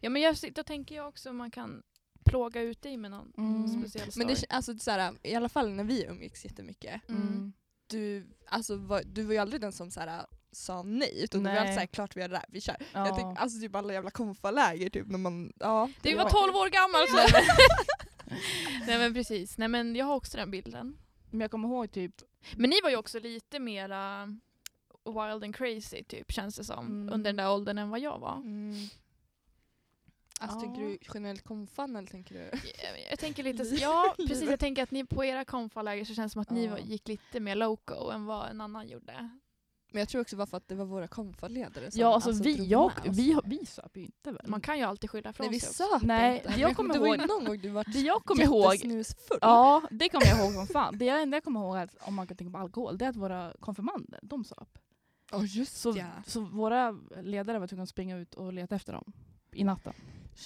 Ja men jag, då tänker jag också om man kan plåga ut dig med någon
Mm.
speciell story.
Men det, alltså, så här, i alla fall när vi umgicks jättemycket,
Mm.
du, alltså, var, du var ju aldrig den som så här, sa nej. Utan du
Nej.
var alltid såhär, klart vi gör det här, vi kör.
Ja.
Jag tyck, alltså typ alla jävla konfaläger typ när man, ja.
Du
det
var 12 år gammal så. [LAUGHS]
[LAUGHS]
Nej men precis, nej men jag har också den bilden.
Men jag kommer ihåg typ...
Men ni var ju också lite mera wild and crazy typ känns det som
Mm.
under den där åldern än vad jag var.
Mm. Alltså
Ja.
tänker du generellt konfan eller tänker du?
Jag, jag tänker lite, så-
[LAUGHS]
ja precis jag tänker att ni på era konfaläger så känns det som att ni
Ja.
var, gick lite mer loco än vad en annan gjorde.
Men jag tror också bara för att det var våra konfaledare som
Ja, alltså, vi,
drog
jag,
med oss.
vi, har- vi söp ju inte väl?
Man kan ju alltid skylla
Nej
från
Mm. vi
sig. också.
söp
Nej,
inte.
jag
Men
kommer
[LAUGHS] det var ju
ihåg-
någon gång
[LAUGHS]
du var
Det jag kommer ihåg...
jättesnusfull.
Ja, det kommer jag ihåg som fan. Det enda jag kommer ihåg, att, om man kan tänka på alkohol, det är att våra konfirmander, de söp.
Ja just
Så,
ja.
så våra ledare var tvungna att springa ut och leta efter dem i natten.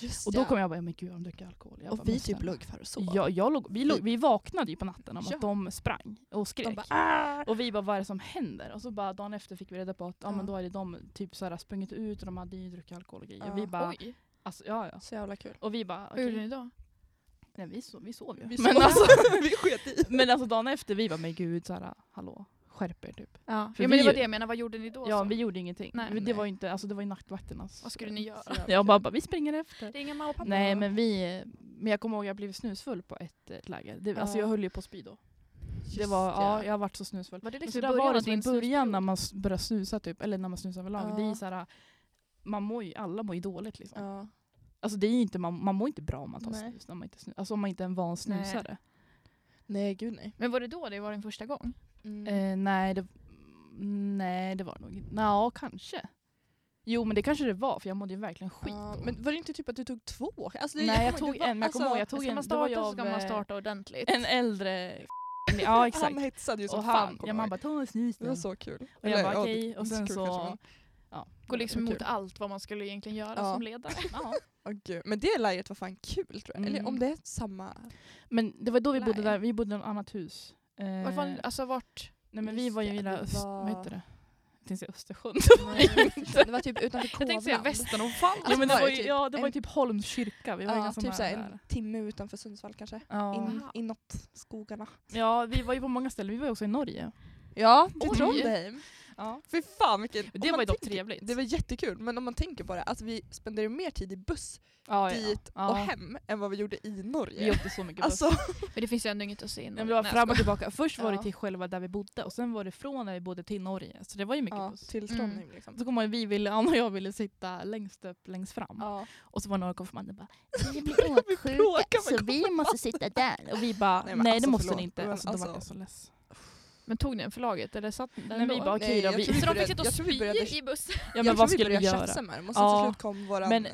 Just
Och då
ja.
kom jag bara, men gud de dricker alkohol. Jag bara,
och vi
"Men
typ
snälla."
låg för och sov.
Ja, jag låg, vi, låg, vi vaknade ju på natten om
Ja.
att de sprang och skrek.
De bara "Ah!"
och vi bara, vad är det som händer? Och så bara dagen efter fick vi reda på att ja.
Ja.
men då hade de typ så här, sprungit ut och de hade ju druckit alkohol och grejer.
Ja.
Vi bara,
Oj,
alltså, ja, ja.
Så jävla kul.
Och vi bara,
vad gjorde
okej.
ni då?
Nej, vi, sov, vi sov ju. [LAUGHS]
Vi
men,
sov.
Alltså,
vi sket i.
men alltså dagen efter, vi bara, men gud, så här, hallå, skärp er typ.
Ja,
För
ja men
vi-
det var det jag menade, vad gjorde ni då?
Ja,
så?
vi gjorde ingenting.
Nej,
det,
nej.
Var ju inte, alltså, det var ju nattvakternas.
Vad skulle ni göra?
Jag bara, bara, vi springer efter.
Ringa mamma och pappa?
Nej, men, vi, men jag kommer ihåg att jag blev snusfull på ett eh, läger. Det, Alltså
Ja.
jag höll ju på att spy då. Det
Just
var, ja, jag har varit så snusfull.
Var det
Så
liksom
där var
början av
det i
din
början
snusperiod?
när man s- börjar snusa, typ, eller när man snusar överlag. Det är
Ja.
ju så här, man mår ju, alla mår ju dåligt. Liksom.
Ja.
Alltså, det är ju inte, man, man mår inte bra om man tar
Nej.
snus, när man inte snusar. Alltså om man inte är en van snusare.
Nej gud nej.
Men var det då det var din första gång?
Mm.
Nej, eh, nej, det, nej det var det nog inte. Nja, kanske. Jo, men det kanske det var, för jag mådde ju verkligen skit
Ja,
då.
men var det inte typ att du tog två? Alltså, det-
Nej, jag
det
tog
var-
en, men jag kommer
alltså,
ihåg, jag tog
Ska
en.
man
det var
starta
ju
så
av,
ska man
eh,
starta ordentligt.
En äldre Ja, exakt.
[LAUGHS] Han hetsade ju som
Och
fan.
han,
kommer
ja,
jag
man
ihåg.
bara ta en snus
det
nu.
var så kul.
Och jag
Eller,
bara
ja,
okej,
det-
och
så
sen
kul
så...
kanske det var.
Ja,
Gå liksom
det var
emot
kul.
allt vad man skulle egentligen göra
Ja.
[LAUGHS]
som ledare.
Ja.
Åh, gud. Men det läget var fan kul tror jag. Eller
Mm.
om det är
[LAUGHS]
samma.
Men det var då vi bodde
Nej.
där, vi bodde i något annat hus. Eh,
Vart var ni, alltså vart?
nej men vi
Just
var ju
det,
i det
vi
där öst...
var-
Vad heter det? Jag tänkte säga [LAUGHS] Östersund.
det var typ utanför
Jag tänkte säga
Kovland.
Västernorrfall.
ja, men det
var
var
det
ju,
typ
ja, det var ju
en-
typ Holms kyrka. Vi var ju
Ja,
ganska
typ
nära
såhär,
där.
en timme utanför Sundsvall kanske.
Ja.
In,
Aha.
inåt skogarna.
ja, vi var ju på många ställen. Vi var ju också i Norge.
Ja, till
Oj.
Trondheim.
Ja.
Fy fan vilken... om
Det
man
var ju dock
tänker-
trevligt.
Det var jättekul, men om man tänker på det, alltså vi spenderade mer tid i buss
ja, ja.
dit
ja.
och hem än vad vi gjorde i
Vi
Norge.
åkte så mycket buss.
Alltså,
[LAUGHS] Men det finns ju ändå inget att se
Nej, men
innan.
det var
Nej,
fram och tillbaka. Först var det
Ja.
till själva där vi bodde och sen var det från där vi bodde till Norge. Så det var ju mycket
ja,
buss. Mm.
till Trondheim liksom.
Så kommer jag ihåg, vi ville, Anna och jag ville sitta längst upp, längst fram.
Ja.
Och så var några konfirmander bara
[LAUGHS]
Vi blir
bråkar
åksjuka
med
så vi måste sitta där.
och vi bara
Nej,
nej,
men
det
alltså,
måste
förlåt.
ni inte.
Men
Alltså,
alltså-
då var jag så less.
Men tog ni en förlaget eller satt ni där
Nej, vi
ändå?
bara, okej då,
jag
vi-
tror
Så de
började-
fick sitta och
jag tror vi
spy
började-
i bussen?
Ja men
jag
vad
tror vi
skulle vi
började
göra?
tjafsa med dem och sen
Ja.
till slut kom våran,
Men-
eh,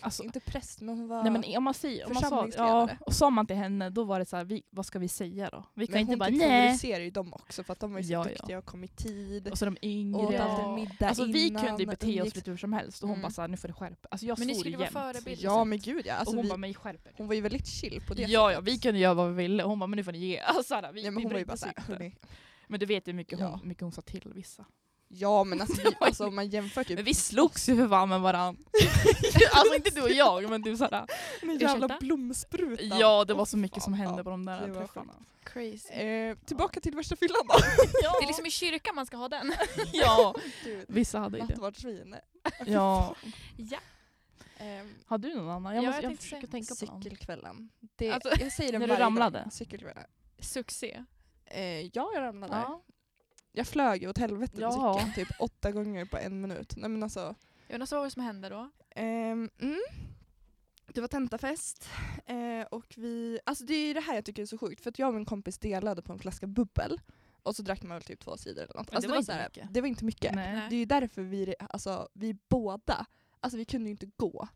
Alltså,
inte präst men hon var...
nej, men om man säger, om man sa, ja,
Församlingsledare.
och sa man till henne då var det så här, vi, vad ska vi säga då? Vi kan
men
inte
hon
bara
typ
nej.
favoriserar ju dem också för att de var ju så
Ja, ja.
duktiga och kom i tid.
Och så de
Och åt
yngre.
alltid
Ja.
en middag
Alltså vi
innan,
kunde ju bete oss
umgicks-
lite hur som helst och hon
Mm.
bara såhär, nu får du skärpa Alltså jag
Men ni
svor
skulle
ju
vara
jämt.
förebilder.
Ja men gud ja.
och
Alltså,
hon
hon, vi,
bara, mig skärper
hon var ju väldigt chill på det
Ja, ja,
sättet.
vi kunde göra vad vi ville och hon bara, men nu får ni ge. Alltså, såhär, vi,
Nej, men
vi
hon var ju
brydde
bara
oss
såhär,
inte.
hörni.
Men du vet ju hur mycket,
Ja.
hon, mycket hon sa till vissa.
Ja
[LAUGHS]
men alltså, vi,
var ju-
alltså om man jämför typ
Men vi slogs ju för fan med [LAUGHS] varandra. alltså inte du och jag, men du såhär,
med
Ursäkta?
jävla blomsprutan.
ja det var så
fan,
mycket som
ja.
hände på de där
Det var
träffarna.
Crazy.
Eh, tillbaka till värsta fyllan då.
[LAUGHS] Ja.
Det är liksom i kyrkan man ska
[LAUGHS]
ha den.
ja.
Gud,
Vissa hade ju det.
Nattvardsvin.
Ja.
ja.
Eh,
Har du någon annan?
Ja,
Jag, måste,
jag
jag, försöker tänka
tänkte säga
på någon.
cykelkvällen. Det,
Alltså,
jag säger
[LAUGHS]
det
när du
varje gång.
ramlade?
Cykelkvällen.
Succé.
Eh, ja jag ramlade.
Ja.
Jag flög ju åt helvete med
Ja.
cykeln typ åtta gånger på en minut. Nej men alltså.
Jag undrar så vad var det som hände då?
Ehm, mm. Det var tentafest eh, och vi, alltså det är ju det här jag tycker är så sjukt för att jag och min kompis delade på en flaska bubbel och så drack man väl typ två sidor eller något.
Men
Alltså
det var inte
så här,
mycket.
det var inte mycket.
Nej.
Det är ju därför vi, re- alltså, vi båda, alltså vi kunde ju inte gå.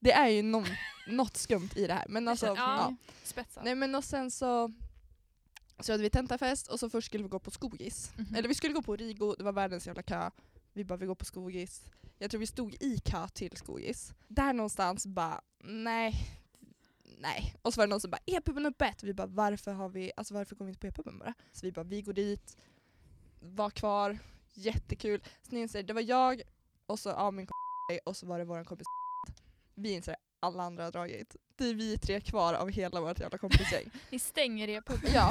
Det är
[LAUGHS]
ju någon, något skumt i det här men alltså,
känner- ja.
ja.
Spetsa.
Nej men och sen så, så hade vi tentafest och så först skulle vi gå på skogis.
Mhm.
Eller vi skulle gå på Rigo, det var världens jävla kö. Vi bara vi går på skogis. Jag tror vi stod i kö till skogis. Där någonstans bara, nej. nej. Och så var det någon som bara e-puben öppet. Vi bara varför har vi, alltså varför går vi inte på e-puben bara? Så vi bara vi går dit, var kvar, jättekul. Sen inser jag, det var jag och så ja, min kompis och så var det vår kompis Vi inser det, alla andra har dragit. Det är vi tre kvar av hela vårt jävla kompisgäng.
Ni stänger er på
ja.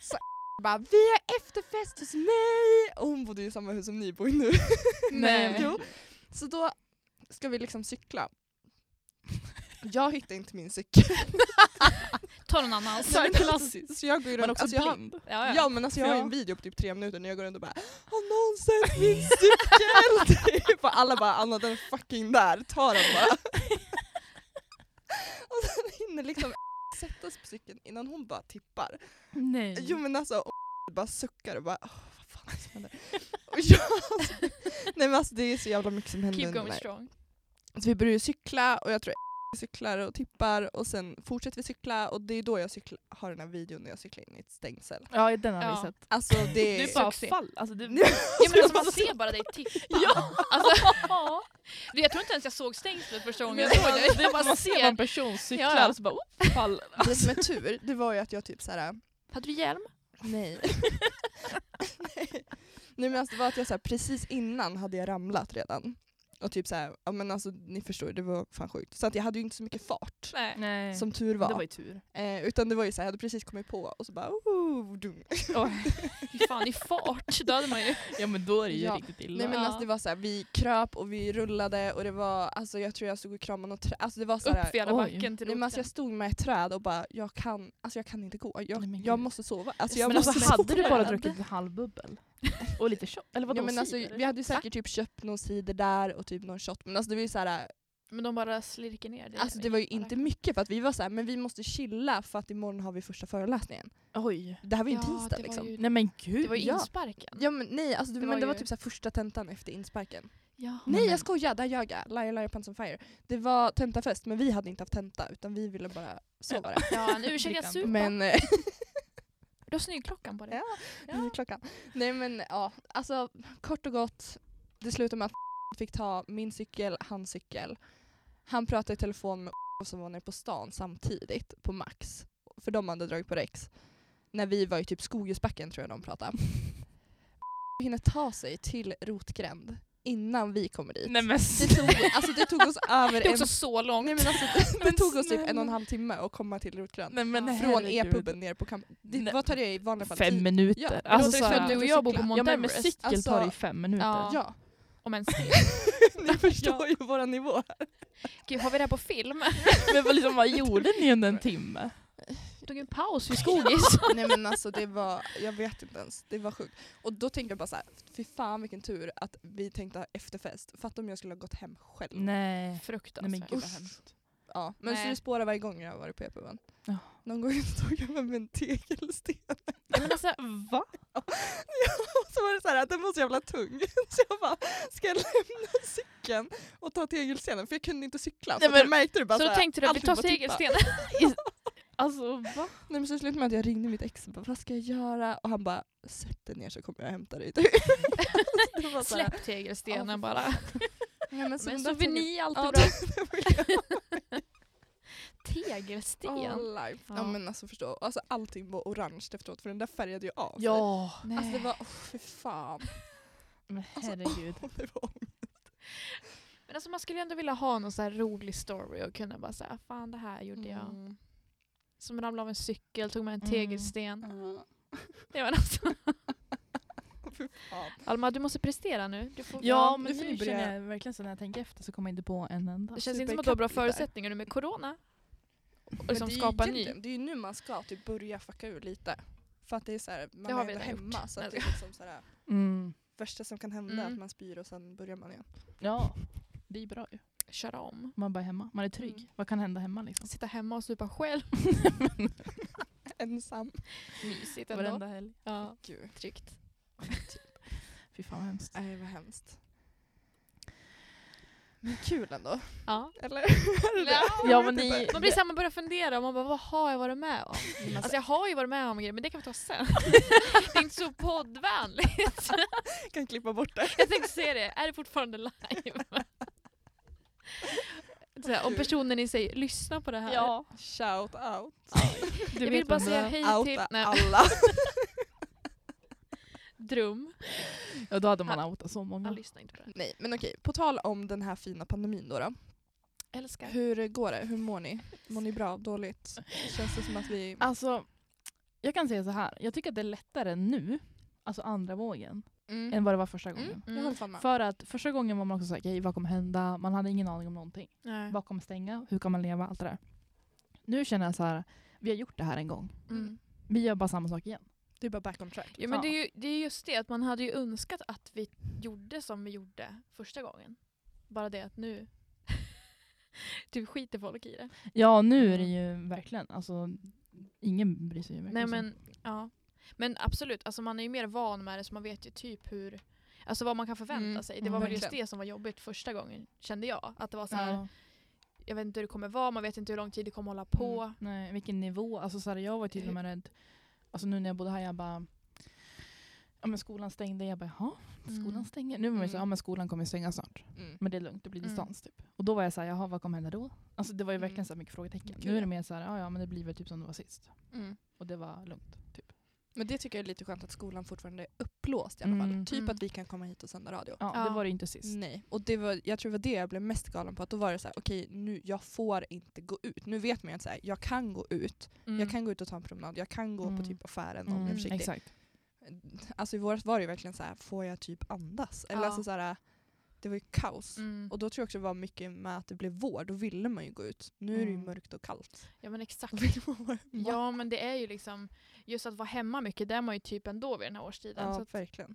Så bara vi har efterfest hos mig! Och hon bodde ju i samma hus som ni bor i nu. [LAUGHS]
Nej.
Jo. Så då ska vi liksom cykla. Jag hittar inte min cykel.
[LAUGHS] Ta någon annan.
Nej, men alltså, Så jag går ju runt,
Man är också
alltså jag, har-
blind.
Ja, ja.
ja, men alltså jag har ju
Ja.
en video på typ tre minuter när jag går runt och bara Har någon sett min cykel? [LAUGHS] typ. Och alla bara Anna den är fucking där, ta den bara. [LAUGHS] och sen hinner liksom [LAUGHS] sätta sig på cykeln innan hon bara tippar.
Nej.
Jo men alltså, och [LAUGHS] bara suckar och bara "Åh, vad fan är det som händer? Och jag, alltså, nej men alltså det är så jävla mycket som händer
Keep
under den
going
här
strong.
så vi börjar ju cykla och jag tror [LAUGHS] jag cyklar och tippar och sen fortsätter vi cykla och det är då jag cykla, har den här videon när jag cyklar in i ett stängsel.
Ja, den har
Ja.
vi sett.
Alltså det
Du
är...
bara
Succé.
fall. Alltså, [LAUGHS] du...
Nej,
Ja, men alltså, man ser bara dig
[LAUGHS]
tippa.
Ja.
Alltså, Du, jag tror inte ens jag såg stängslet första gången jag
Nej,
såg
[LAUGHS]
det.
alltså,
det-
Jag bara
man ser
ser.
en person cykla
Ja, ja.
och så bara oh, fall.
Det som är alltså, tur, det var ju att jag typ såhär,
Hade du hjälm?
nej. [LAUGHS] nej. Nej men alltså det var att jag såhär, precis innan hade jag ramlat redan. Och typ såhär, ja men alltså ni förstår ju, det var fan sjukt. Så att jag hade ju inte så mycket fart.
Nej.
Nej.
Som tur var.
Det var ju tur.
Eh, utan det var ju såhär, jag hade precis kommit på och så bara oh, dum. [LAUGHS]
Fy fan, i fart. Då hade man ju...
Ja men då är det ju
Ja.
riktigt illa.
Nej men
Ja.
alltså det var såhär, vi kröp och vi rullade och det var, alltså jag tror jag stod och kramade något träd. Alltså det var såhär,
Upp för jävla
Oj.
backen till
nej, men alltså
roten.
jag stod med ett träd och bara, jag kan, alltså jag kan inte gå. Jag,
Nej, men
jag
gud.
måste sova. Alltså jag
men
måste
alltså, hade du
sova.
bara druckit en halv bubbel? Och lite shot? Eller vadå?
Ja, men alltså,
cider?
vi hade ju säkert typ köpt någon cider där och typ någon shot. Men alltså det var ju såhär,
Men de bara slirker ner dig.
alltså det var ju inte mycket för att vi var såhär, men vi måste chilla för att imorgon har vi första föreläsningen.
Oj.
Det här var ju en
Ja,
tisdag
det var
liksom.
ju-
Nej men gud.
Det var ju
Ja.
insparken.
Ja men nej, alltså, det,
Det
men
var
det var
ju-
typ så här första tentan efter insparken.
Ja.
Nej jag skojar, där ljög jag. Liar liar pants on fire. Det var tentafest men vi hade inte haft tenta utan vi ville bara sova där.
Ja, en ursäkt att supa.
Men eh,
Du har snygg-klockan på dig.
Ja. nio eh, [LAUGHS] klockan. Nej men ja, alltså kort och gott. Det slutade med att [LAUGHS] fick ta min cykel, hans cykel. Han pratade i telefon med [LAUGHS] som var nere på stan samtidigt på Max. För de hade dragit på Rex. När vi var i typ Skogesbacken tror jag de pratade. [LAUGHS] hinner ta sig till Rotgränd innan vi kommer dit.
Nej men
Det [LAUGHS] tog, alltså det tog oss över
[LAUGHS] Det är
en
också så långt.
Nej, men alltså, det, det
Men
tog oss typ
snälla.
en och en halv timme att komma till Rotgrön.
Nej, men
Från
herregud.
e-puben ner på kampen.
Nej.
Vad tar det i vanliga fall?
Fem
Tio-
minuter.
Ja, det typ
alltså,
låter
så här-
som du och jag bor på Mount
Ja men med
Everest.
cykel
Alltså-
tar det ju fem minuter.
Ja.
Ja,
Om ens det.
ni förstår ju våra nivå.
Gud, har vi det här på film?
[LAUGHS] Men vad, liksom, vad gjorde ni under en timme?
Tog en paus vid [LAUGHS] skogis.
Typ. [LAUGHS] Nej men alltså det var, jag vet inte ens, det var sjukt. Och då tänkte jag bara så här, fy fan vilken tur att vi tänkte ha efterfest. Fatta om jag skulle ha gått hem själv.
Nej. Nej men
Fruktansvärt.
gud vad
Usch.
alltså, hemskt.
Ja, men
Nej.
så det spårar varje gång jag har varit på e-puben.
Ja.
Någon gång [LAUGHS] stod jag med en tegelsten.
Ja, men alltså,
Va?
Och så var det så här att den var så jävla tung. [LAUGHS] Så jag bara, ska jag lämna cykeln och ta tegelstenen? För jag kunde inte cykla. Nej,
Nej, men-
men, jag märkte det [LAUGHS] bara
så då
här,
tänkte du att vi
allting
tar
bara tippar.
tegelsten. [LAUGHS]
Alltså va?
Nej men så slutade med att jag ringde mitt ex och bara, vad ska jag göra? Och han bara, sätt dig ner så kommer jag hämta dig. [LAUGHS] det var så här,
Släpp tegelstenen
Ja,
bara. [LAUGHS]
Nej, men
Men
den
så
där
blir
tog-
ni alltid
Ja,
bra.
det var ju-
Tegelsten?
All life. Ja.
Ja.
men alltså förstå, alltså, allting var orange efteråt för den där färgade ju av.
Ja.
Nej.
Alltså det var, oh, fy fan. [LAUGHS]
Men
alltså,
herregud.
Det var
Men alltså man skulle ju ändå vilja ha någon så här rolig story och kunna bara säga fan det här gjorde jag.
Mm.
Som ramlade av en cykel, tog med en
Mm.
tegelsten.
Ja,
Det var alltså.
fy fan.
Alma du måste prestera nu. Du får,
Ja men
nu får
nu
ni börja-
känner jag verkligen så när jag tänker efter så kommer jag inte på en enda.
det känns inte
super
som att du har bra
ikapp lite där.
förutsättningar nu med corona. Och
Men
liksom
det är ju
skapa ny.
egentligen- Det är ju nu man ska typ börja fucka ur lite. För att det är så här, man
Det har
är
vi
ändå
redan
hemma
gjort.
så att det
Nej.
är liksom så här,
Mm.
värsta som kan hända
Mm.
att man spyr och sen börjar man igen. [LAUGHS]
Ja. Det är bra ju.
Köra om.
Man bara är hemma. Man är trygg.
Mm.
Vad kan hända hemma liksom?
Sitta hemma och supa själv.
Ensam.
Mysigt ändå.
helg.
Ja,
Gud.
tryggt.
Fy fan vad hemskt.
Nej vad hemskt. Men kul ändå.
Ja.
[LAUGHS] Eller? Är det det?
Ja,
Ja,
Jag typ
men
vet
ni-
inte.
Man blir såhär, man börjar fundera och man bara vad har jag varit med om?
Men
Alltså jag har ju varit med om grejer men det kan vi ta sen. det är inte så poddvänligt.
jag kan klippa bort det.
Jag tänkte se det, är det fortfarande live? Så här, om personen i sig lyssnar på det här.
Ja.
Shout out.
jag vill bara säga hej till...
Outa
Nej,
alla.
Drum.
Ja, då hade man outat så
Han
många.
lyssnar inte på det.
Nej men okej, på tal om den här fina pandemin då. då.
Älskar.
Hur går det? Hur mår ni? Mår ni bra? Dåligt? Känns det som att vi...
Alltså, jag kan säga så här. Jag tycker att det är lättare nu, alltså andra vågen,
Mm.
än vad det var första gången.
Mm. Jag håller fan med.
För att första gången var man också såhär, okej vad kommer hända? Man hade ingen aning om någonting.
Nej.
Vad kommer stänga? Hur kan man leva? Allt det där. Nu känner jag så här, vi har gjort det här en gång.
Mm.
Vi gör bara samma sak igen.
Du är bara back on track.
Ja, men det, är ju, det är just det, att man hade ju önskat att vi gjorde som vi gjorde första gången. Bara det att nu [LAUGHS] typ skiter folk i det.
Ja,
Mm.
nu är det ju verkligen, alltså ingen bryr sig ju
Nej,
verkligen.
men, ja. men absolut, alltså man är ju mer van med det så man vet ju typ hur Alltså vad man kan förvänta
Mm,
sig. Det
mm,
var väl just
verkligen.
det som var jobbigt första gången, kände jag. Att det var så här,
Ja,
jag vet inte hur det kommer vara, man vet inte hur lång tid det kommer hålla på.
nej, vilken nivå. Alltså så här, jag var till och med rädd, alltså nu när jag bodde här, jag bara, ja men skolan stängde, jag bara jaha, skolan
Mm.
stänger? Nu var man ju såhär, ja
Mm.
men skolan kommer stänga snart.
Mm.
Men det är lugnt, det blir
Mm.
distans typ. Och då var jag såhär, jaha vad kommer hända då? Alltså det var ju
Mm.
verkligen så här mycket frågetecken.
Gud,
Nu är
ja.
det mer såhär, ja ja men det blir väl typ som det var sist.
Mm.
Och det var lugnt. Typ.
Men det tycker jag är lite skönt att skolan fortfarande är uppblåst i alla fall.
Mm.
Typ
Mm.
att vi kan komma hit och sända radio.
Ja,
Ja.
det var det ju inte sist.
Nej, och det var, jag tror det var det jag blev mest galen på. Att då var det så här, okej nu, jag får inte gå ut. Nu vet man ju att så här, jag kan gå ut.
Mm.
Jag kan gå ut och ta en promenad. Jag kan gå
Mm.
på typ affären om jag är
Mm,
försiktig.
exakt.
Alltså i våras var det ju verkligen så här, får jag typ andas? Eller
Ja.
alltså så här, det var ju kaos.
Mm.
Och då tror jag också det var mycket med att det blev vår, då ville man ju gå ut. Nu är det ju
Mm.
mörkt och kallt. [LAUGHS]
Ja men exakt.
Då vill man vara hemma.
Ja men det är ju liksom, just att vara hemma mycket, det är man ju typ ändå vid den här årstiden.
ja
Så att,
verkligen.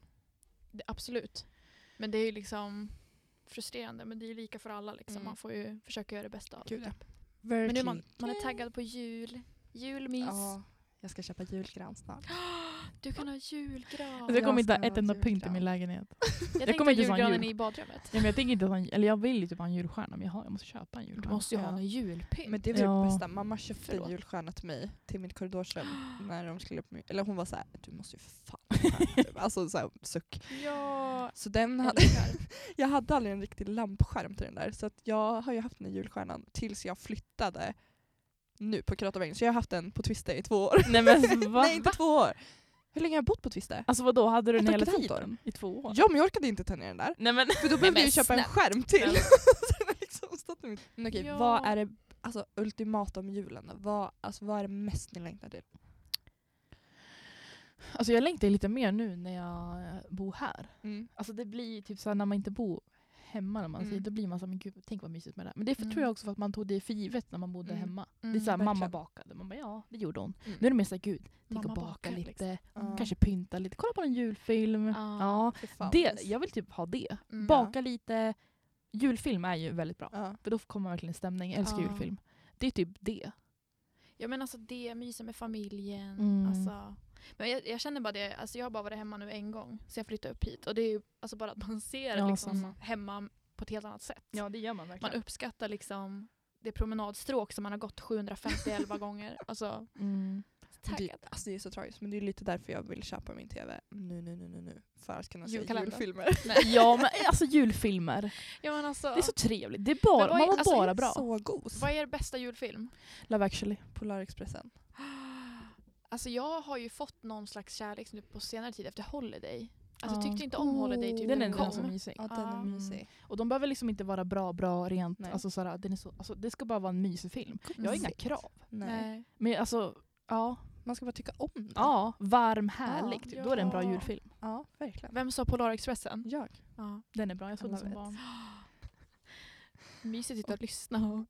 det, absolut. Men det är ju liksom frustrerande, men det är ju lika för alla liksom.
Mm.
Man får ju försöka göra det bästa av det. typ.
Gud, ja.
Men nu är
Verkligen.
man, man är taggad på jul. Julmys.
Ja, jag ska köpa julgran
[GASPS]
snart.
Du kan ha julgran.
Alltså, jag kommer inte ha
ska
ett enda
vara
punkt i min
julgran.
lägenhet.
jag tänkte
kommer
ha
inte ens ha en
julgranen
jul.
i badrummet.
Ja, men jag, tänker inte ha en, eller jag vill ju typ ha en julstjärna men jag, har, jag måste köpa en
Du
julstjärna.
måste ju ha
Ja.
någon julpynt.
Men det var
Ja.
det bästa. Mamma köpte
Förlåt.
en julstjärna till mig, till mitt korridorsrum. när de skulle upp, med- eller hon var så här, du måste ju för fan ha en [LAUGHS] stjärna", typ. Alltså så här, suck.
Ja,
Så den hade,
älskar.
jag hade aldrig en riktig lampskärm till den där. Så att jag har ju haft den här julstjärnan tills jag flyttade nu på Kratavägen. Så jag har haft den på Twister i två år.
Nej men va?
[LAUGHS] Nej inte två år! Hur länge har jag bott på Twister?
Alltså vadå, hade du den
Ett och
hela
ett halvt år.
tiden? I två år?
Ja men jag orkade inte ta ner den där.
Nej men
För då behövde
men
jag ju köpa en
snälla.
skärm till.
Ja.
[LAUGHS] Så den har liksom stått i mitt- men okej,
Ja.
vad är det alltså, ultimata om julen då? Vad, alltså, vad är det mest ni längtar till?
Alltså jag längtar ju lite mer nu när jag eh, bor här. Alltså det blir ju typ såhär när man inte bor hemma när man
Mm.
säger, då blir man såhär, men gud tänk vad mysigt med det här. Men det är för,
Mm.
tror jag också för att man tog det för givet när man bodde
Mm.
hemma. det är
Mm,
såhär, mamma
verkligen.
bakade, man bara ja det gjorde hon.
Mm.
Nu är det mer såhär, gud tänk
Mamma
att baka
bakar,
lite, mm,
liksom.
Ja.
kanske pynta lite, kolla på en julfilm.
Ja.
Ja.
Fy fan, vad
Det,
mysigt.
jag vill typ ha det.
Mm.
Baka lite, julfilm är ju väldigt bra.
Ja.
För då kommer man verkligen i stämning, jag älskar
Ja.
julfilm. Det är typ det.
Ja men alltså det, mysa med familjen.
Mm.
Alltså. Men jag, jag känner bara det, alltså jag har bara varit hemma nu en gång så jag flyttade upp hit. Och det är ju alltså bara att man ser
Ja,
liksom
samma.
hemma på ett helt annat sätt.
det gör man
Man uppskattar liksom det promenadstråk som man har
[LAUGHS]
gått 750 gånger. Alltså,
Mm.
Det,
taggad.
alltså, det är så tragiskt men det är lite därför jag vill köpa min TV nu, nu, nu, nu, nu. För att kunna
Alltså,
se
Julkalender.
julfilmer.
[LAUGHS] Ja men alltså julfilmer,
Ja, men alltså,
det är så trevligt. Det är bara,
Men vad
man
är-
mår
alltså,
bara
jag-
bra.
Så gos.
vad är er bästa julfilm?
Love actually.
Polarexpressen.
Alltså jag har ju fått någon slags kärlek nu på senare tid efter Holiday. Alltså
Ja.
jag tyckte inte om Holiday typ
Den
när
Den är
den
inte så
kom.
mysig.
Ja den är
Ja.
Ehm,
mysig.
Och de behöver liksom inte vara bra, bra, rent.
Nej.
Alltså, såhär, den är så, alltså, det ska bara vara en mysig film. Jag har inga
Mysigt.
krav.
Nej.
Nej.
Men alltså, ja.
Man ska bara tycka om den.
ja varm, härlig. typ. Då är det en bra
Ja.
julfilm.
ja verkligen.
Vem sa Polarexpressen?
Jag.
Ja.
Den är bra, jag såg den
Alla
som
vet.
barn.
Mysigt att sitta och lyssna och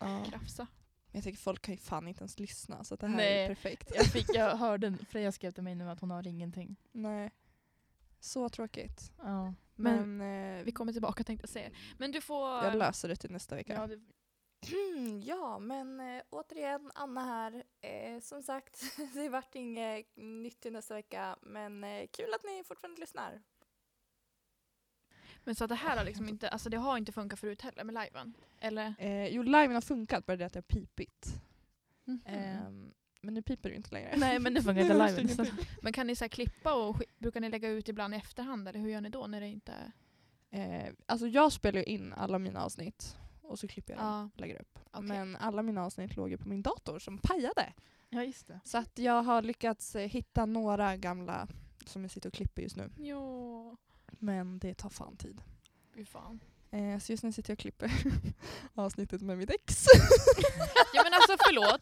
Ja.
krafsa.
Men jag tänker folk kan ju fan inte ens lyssna så det här
Nej.
är perfekt.
Jag, fick, jag hörde, en- Freja skrev till mig nu att hon har ingenting.
Nej. Så tråkigt.
Ja.
Men, eh,
Vi kommer tillbaka tänkte jag säga. Men du får...
jag löser det till nästa vecka.
Ja, det,
Mm, [CLEARS THROAT] Ja, men eh, återigen Anna här. Eh, som sagt, [LAUGHS] det vart inget nytt till nästa vecka, men eh, kul att ni fortfarande lyssnar.
Men så att det här har liksom inte, alltså det har inte funkat förut heller med liven? Eller?
Eh, jo, liven har funkat, bara det att det har pipit.
Mhm.
Eh.
[LAUGHS]
Ehm, men nu piper det ju inte längre.
nej men det funkar inte
Nu
live.
måste jag
Så-
Men kan ni så här klippa och sk- brukar ni lägga ut ibland i efterhand eller hur gör ni då när det inte är...
Eh, alltså jag spelar ju in alla mina avsnitt. och så klipper jag dem
Ja.
och lägger upp.
Okej.
Men alla mina avsnitt låg ju på min dator som pajade.
Ja, just det.
Så att jag har lyckats eh, hitta några gamla som jag sitter och klipper just nu.
Jo.
Men det tar fan tid.
Fy fan.
Eh, så just nu sitter jag och klipper [LAUGHS] avsnittet med mitt ex.
Ja men alltså förlåt,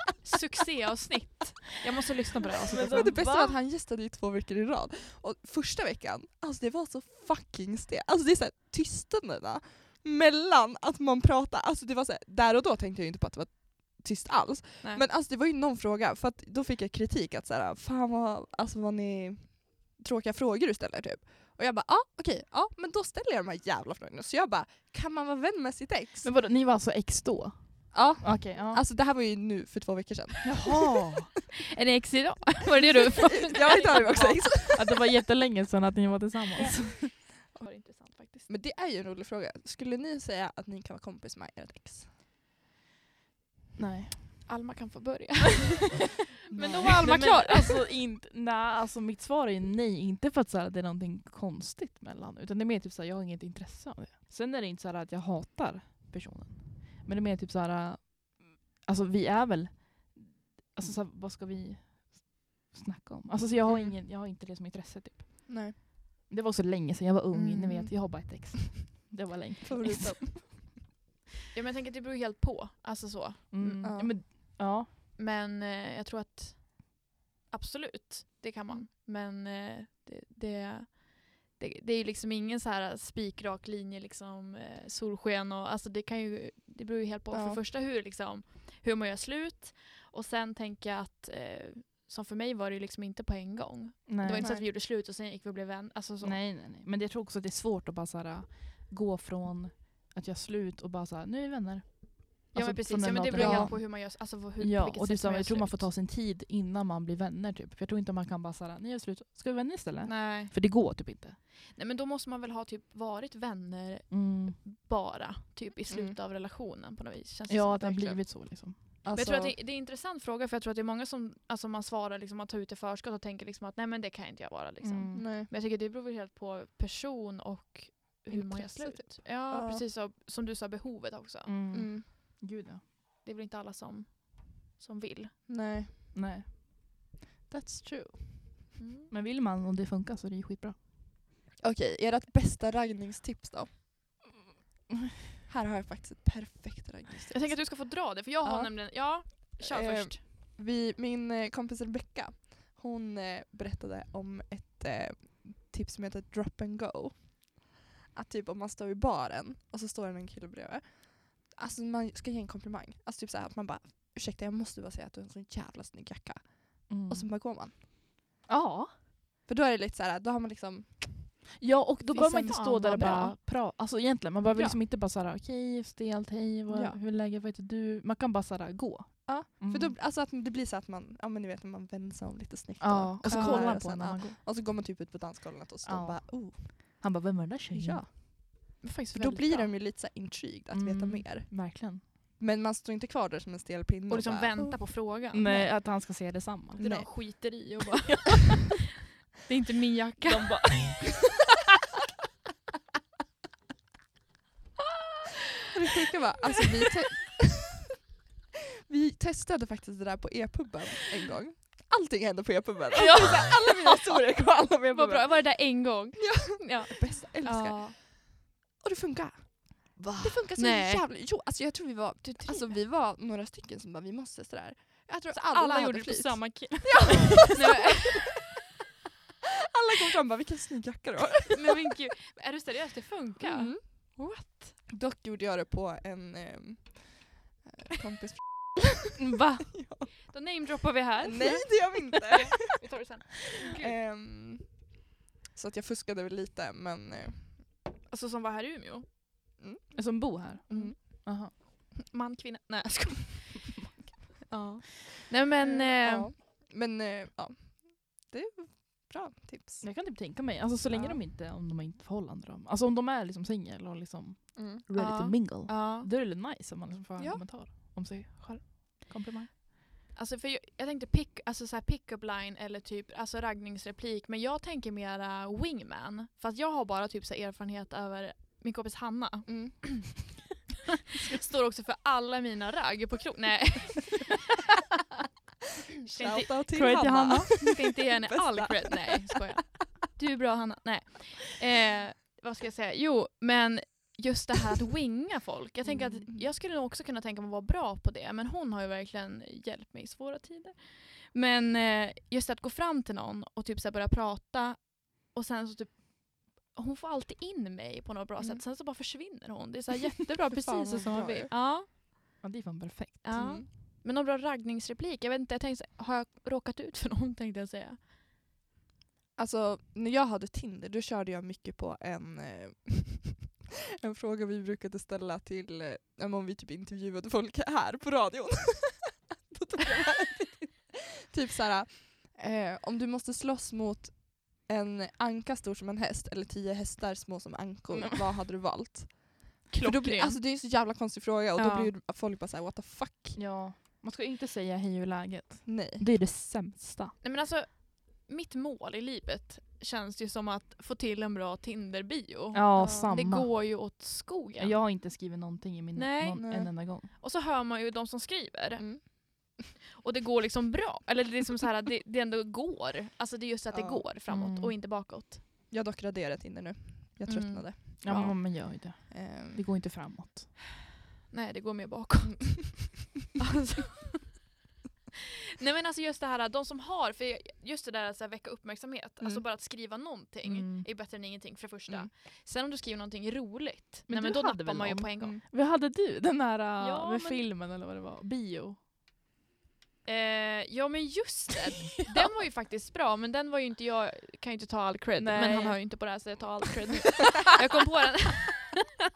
succéavsnitt. Jag måste lyssna på det här
Alltså,
avsnittet
Men det
sen.
bästa var att han gästade ju två veckor i rad. Och första veckan, alltså det var så fucking stelt. Alltså det är såhär tystnaderna mellan att man pratar, alltså det var så här, där och då tänkte jag ju inte på att det var tyst alls.
Nej.
Men alltså det var ju någon fråga, för att då fick jag kritik att såhär, fan vad, alltså vad ni tråkiga frågor du ställer typ. Och jag bara, ja ah, okej, ja men då ställer jag de här jävla frågorna. Så jag bara, kan man vara vän med sitt ex?
Men vadå, ni var alltså ex då?
ja.
Okej, ja.
Alltså det här var ju nu för två
[LAUGHS]
veckor sedan.
Jaha!
Är det ex idag? Var det det du
jag vet inte om det var också ex.
att det var jättelänge sedan att ni var tillsammans.
Det var intressant faktiskt.
Men det är ju en rolig fråga. Skulle ni säga att ni kan vara kompis med ert ex?
Nej.
Alma kan få [LAUGHS] börja.
Men
då var Alma klar.
Alltså, inte, nej, alltså mitt svar är nej. Inte för att så här, det är någonting konstigt mellan. Utan det är mer typ så här, jag har inget intresse av det. Sen är det inte så här att jag hatar personen. Men det är mer typ så här, äh, alltså vi är väl, alltså så här, vad ska vi snacka om? Alltså så jag har,
Mm.
ingen, jag har inte det som intresse typ.
Nej.
Det var så länge sedan jag var ung,
Mm.
ni vet. Jag har bara ett [LAUGHS] ex. Det var länge.
[LAUGHS] Ja men jag tänker att det beror helt på. Alltså så.
[LAUGHS] Mm.
Ja.
Ja. Men, ja.
Men eh, jag tror att absolut, det kan man. Men eh, det, det, det, det är ju liksom ingen så här spikrak linje, liksom, eh, solsken och alltså det kan ju, det beror ju helt på.
Ja.
För det första hur, liksom, hur man gör slut och sen tänker jag att eh, som för mig var det ju liksom inte på en gång.
Nej.
Det var inte så
Nej.
att vi gjorde slut och sen gick vi och blev vänner. Alltså så.
Nej, nej, nej. Men jag tror också att det är svårt att bara så här, äh, gå från att jag slut och bara så här, nu är vi vänner. Alltså,
ja men
från
precis,
den
ja, men det
dagen.
beror ju
Ja.
helt på hur man gör, alltså hur, på
ja,
vilket
och det är
sätt
så här,
man gör
jag tror man får
slut.
ta sin tid innan man blir vänner. Typ. För jag tror inte man kan bara så här, ni är slut, ska vi vara vänner istället?
Nej.
För det går typ inte.
Nej men då måste man väl ha typ varit vänner
Mm.
bara typ i slutet
Mm.
av relationen på något vis. Känns det som.
Ja, att det har
Verkligen.
blivit Alltså, så liksom.
Men jag tror att det, det är en intressant fråga för jag tror att det är många som alltså man svarar liksom att ta ut i förskott och tänker liksom att nej men det kan inte jag vara liksom.
Mm.
Nej.
Men jag tycker det beror väl helt på person och hur man gör
Intresse,
slut. Ja,
Ja.
precis så, som du sa behovet också.
Mm.
Mm.
Gud ja.
Det är väl inte alla som, som vill.
Nej.
Nej. That's true.
Mm.
Men vill man och det funkar så är det ju skitbra.
Okej, ert bästa raggningstips
[LAUGHS]
då? Här har jag faktiskt ett perfekt raggningstips.
Jag tänker att du ska få dra det för jag har
Ja.
nämligen, ja kör
Eh,
först.
Vi, min eh, kompis Rebecca, hon eh, berättade om ett eh, tips som heter drop and go. Att typ om man står i baren och så står det en kille bredvid. Alltså man ska ge en komplimang. Alltså typ så här att man bara ursäkta jag måste bara säga att du har en sån jävla snygg jacka.
Mm.
Och så bara går man.
ja.
För då är det lite så här, då har man liksom
ja, och då
Fy
behöver man
fan,
inte stå där och
vad bra.
bara prata. Alltså egentligen, man behöver
Ja.
liksom inte bara såhär, okej, stelt, hej, vad,
Ja.
hur är läget, vad heter du? Man kan bara såhär gå.
Ja,
Mm.
För då, alltså att det blir så att man, ja men ni vet när man vänder sig om lite snyggt.
Ja, och så kollar
där
han
och
på
sen,
när
ja.
man går.
Och så går man typ ut på dansgolvet och så
Ja.
bara oh.
Han bara, vem var den där tjejen?
Ja.
Det är faktiskt
För då
väldigt
blir
bra.
de ju lite så här intrigued att veta
Mm.
mer.
Verkligen.
Men man står inte kvar där som en stel pinne.
och liksom
bara, oh.
vänta på frågan.
Nej, att han ska säga detsamma.
Det
nej.
de skiter i och bara
[LAUGHS]
Det är inte min jacka. De bara
Och det sjuka var, alltså vi, te- [LAUGHS] vi testade faktiskt det där på e-puben en gång. Allting hände på e-puben. Alltså, det är så här, alla mina historier kom alla med på
Vad bra,
e-puben.
var det där en gång? Ja.
Bästa, älskar.
ja.
Och det funkar.
Va?
Det funkar så
Nej.
jävla... Jo, alltså jag tror vi var,
Du driver.
alltså, vi var några stycken som bara vi måste sådär. Jag tror alla,
alla,
hade
gjorde det på
flyt. [LAUGHS]
samma kille. [LAUGHS]
[LAUGHS] Alla kom fram och bara vilken snygg jacka du har.
[LAUGHS] men, men gud, är du seriös? Det funkar?
Mm. Dock gjorde jag det på en ehm, eh, kompis.
[LAUGHS] Va?
[LAUGHS]
Då namedroppar vi [LAUGHS] här.
Mm. Nej det gör vi inte.
[LAUGHS] Vi tar det sen.
Ehm, så att jag fuskade väl lite men eh,
Alltså som var här i Umeå.
Som bor här?
Mm.
Aha.
Man, kvinna. Nej jag skojar. [LAUGHS] ja. Nej men.
eh,
Eh,
ja. Men eh, ja, det är bra tips.
Jag kan typ tänka mig, alltså så länge
Ja.
de inte, om de inte förhållande dem. Alltså om de är liksom singel och liksom
Mm.
ready
Ja.
to mingle.
ja.
Då är det väl nice om man liksom får en
Ja.
kommentar om sig själv. Komplimang.
Alltså för jag, jag tänkte pick, alltså så här pick-up line eller typ alltså raggningsreplik men jag tänker mera wingman. För att jag har bara typ så här erfarenhet över min kompis Hanna.
Mm.
Står också för alla mina ragg på
[LAUGHS]
krogen. Nej, [LAUGHS]
Shoutout till
Credit till
Hanna. [LAUGHS]
Hanna.
jag ska inte ge henne
Bästa.
all cred. Nej, skojar. Du är bra Hanna. Nej. Eh, vad ska jag säga? Jo, men just det här att winga folk. Jag tänker att
Mm.
jag skulle nog också kunna tänka mig att vara bra på det. Men hon har ju verkligen hjälpt mig i svåra tider. Men eh, just att gå fram till någon och typ så här börja prata och sen så typ hon får alltid in mig på något bra
Mm.
sätt. Sen så bara försvinner hon. Det är så här
[LAUGHS]
jättebra,
Fy
precis
fan,
så
vad
som man
bra
vill.
ju.
Ja.
Ja, det är fan perfekt.
ja.
Mm.
Men någon bra raggningsreplik? Jag vet inte, jag tänkte, så här, har jag råkat ut för [LAUGHS] någon tänkte jag säga.
Alltså när jag hade Tinder då körde jag mycket på en, eh, [LAUGHS] en fråga vi brukade ställa till eh, ja, men om vi typ intervjuade folk här på radion. [LAUGHS] Då tog jag med- typ såhär, eh, om du måste slåss mot en anka stor som en häst eller tio hästar små som ankor,
Mm.
vad hade du valt?
[LAUGHS]
För då blir, alltså, det är en så jävla konstig fråga och
Ja.
då blir folk bara såhär what the fuck.
Ja. Man ska inte säga hej hur är läget.
Nej.
Det är det sämsta.
Nej, men alltså, mitt mål i livet känns ju som att få till en bra Tinder-bio.
Ja,
samma.
samma.
Det går ju åt skogen.
Jag har inte skrivit någonting i min
Nej.
någon,
Nej.
en enda gång.
Och så hör man ju de som skriver.
Mm.
[LAUGHS] Och det går liksom bra. Eller det är som så här, det, det ändå går. Alltså det är just att det
Ja.
går framåt
Mm.
och inte bakåt.
Jag har dock raderat Tinder nu. Jag
Mm.
tröttnade.
Ja,
Ja.
men man gör ju det.
Ehm,
Det går inte framåt.
Nej, det går
[LAUGHS]
mer bakåt. alltså. Nej men alltså just det här, de som har, för jag- just det där att så här, väcka uppmärksamhet, alltså
Mm.
bara att skriva någonting
Mm.
är bättre än ingenting för det första.
Mm.
Sen om du skriver någonting roligt,
Men
nej, men
du
då
hade
nappar
väl
man ju
någon? Mm.
på en gång.
Vad hade du? Den där äh,
Ja,
med
men-
filmen eller vad det var? Bio?
Eh, ja men just
[LAUGHS]
det, den var ju faktiskt bra men den var ju inte, jag kan ju inte ta all cred, men
Nej.
han har ju inte på det här så jag tar
[LAUGHS]
all cred nu. jag kom på den. [LAUGHS]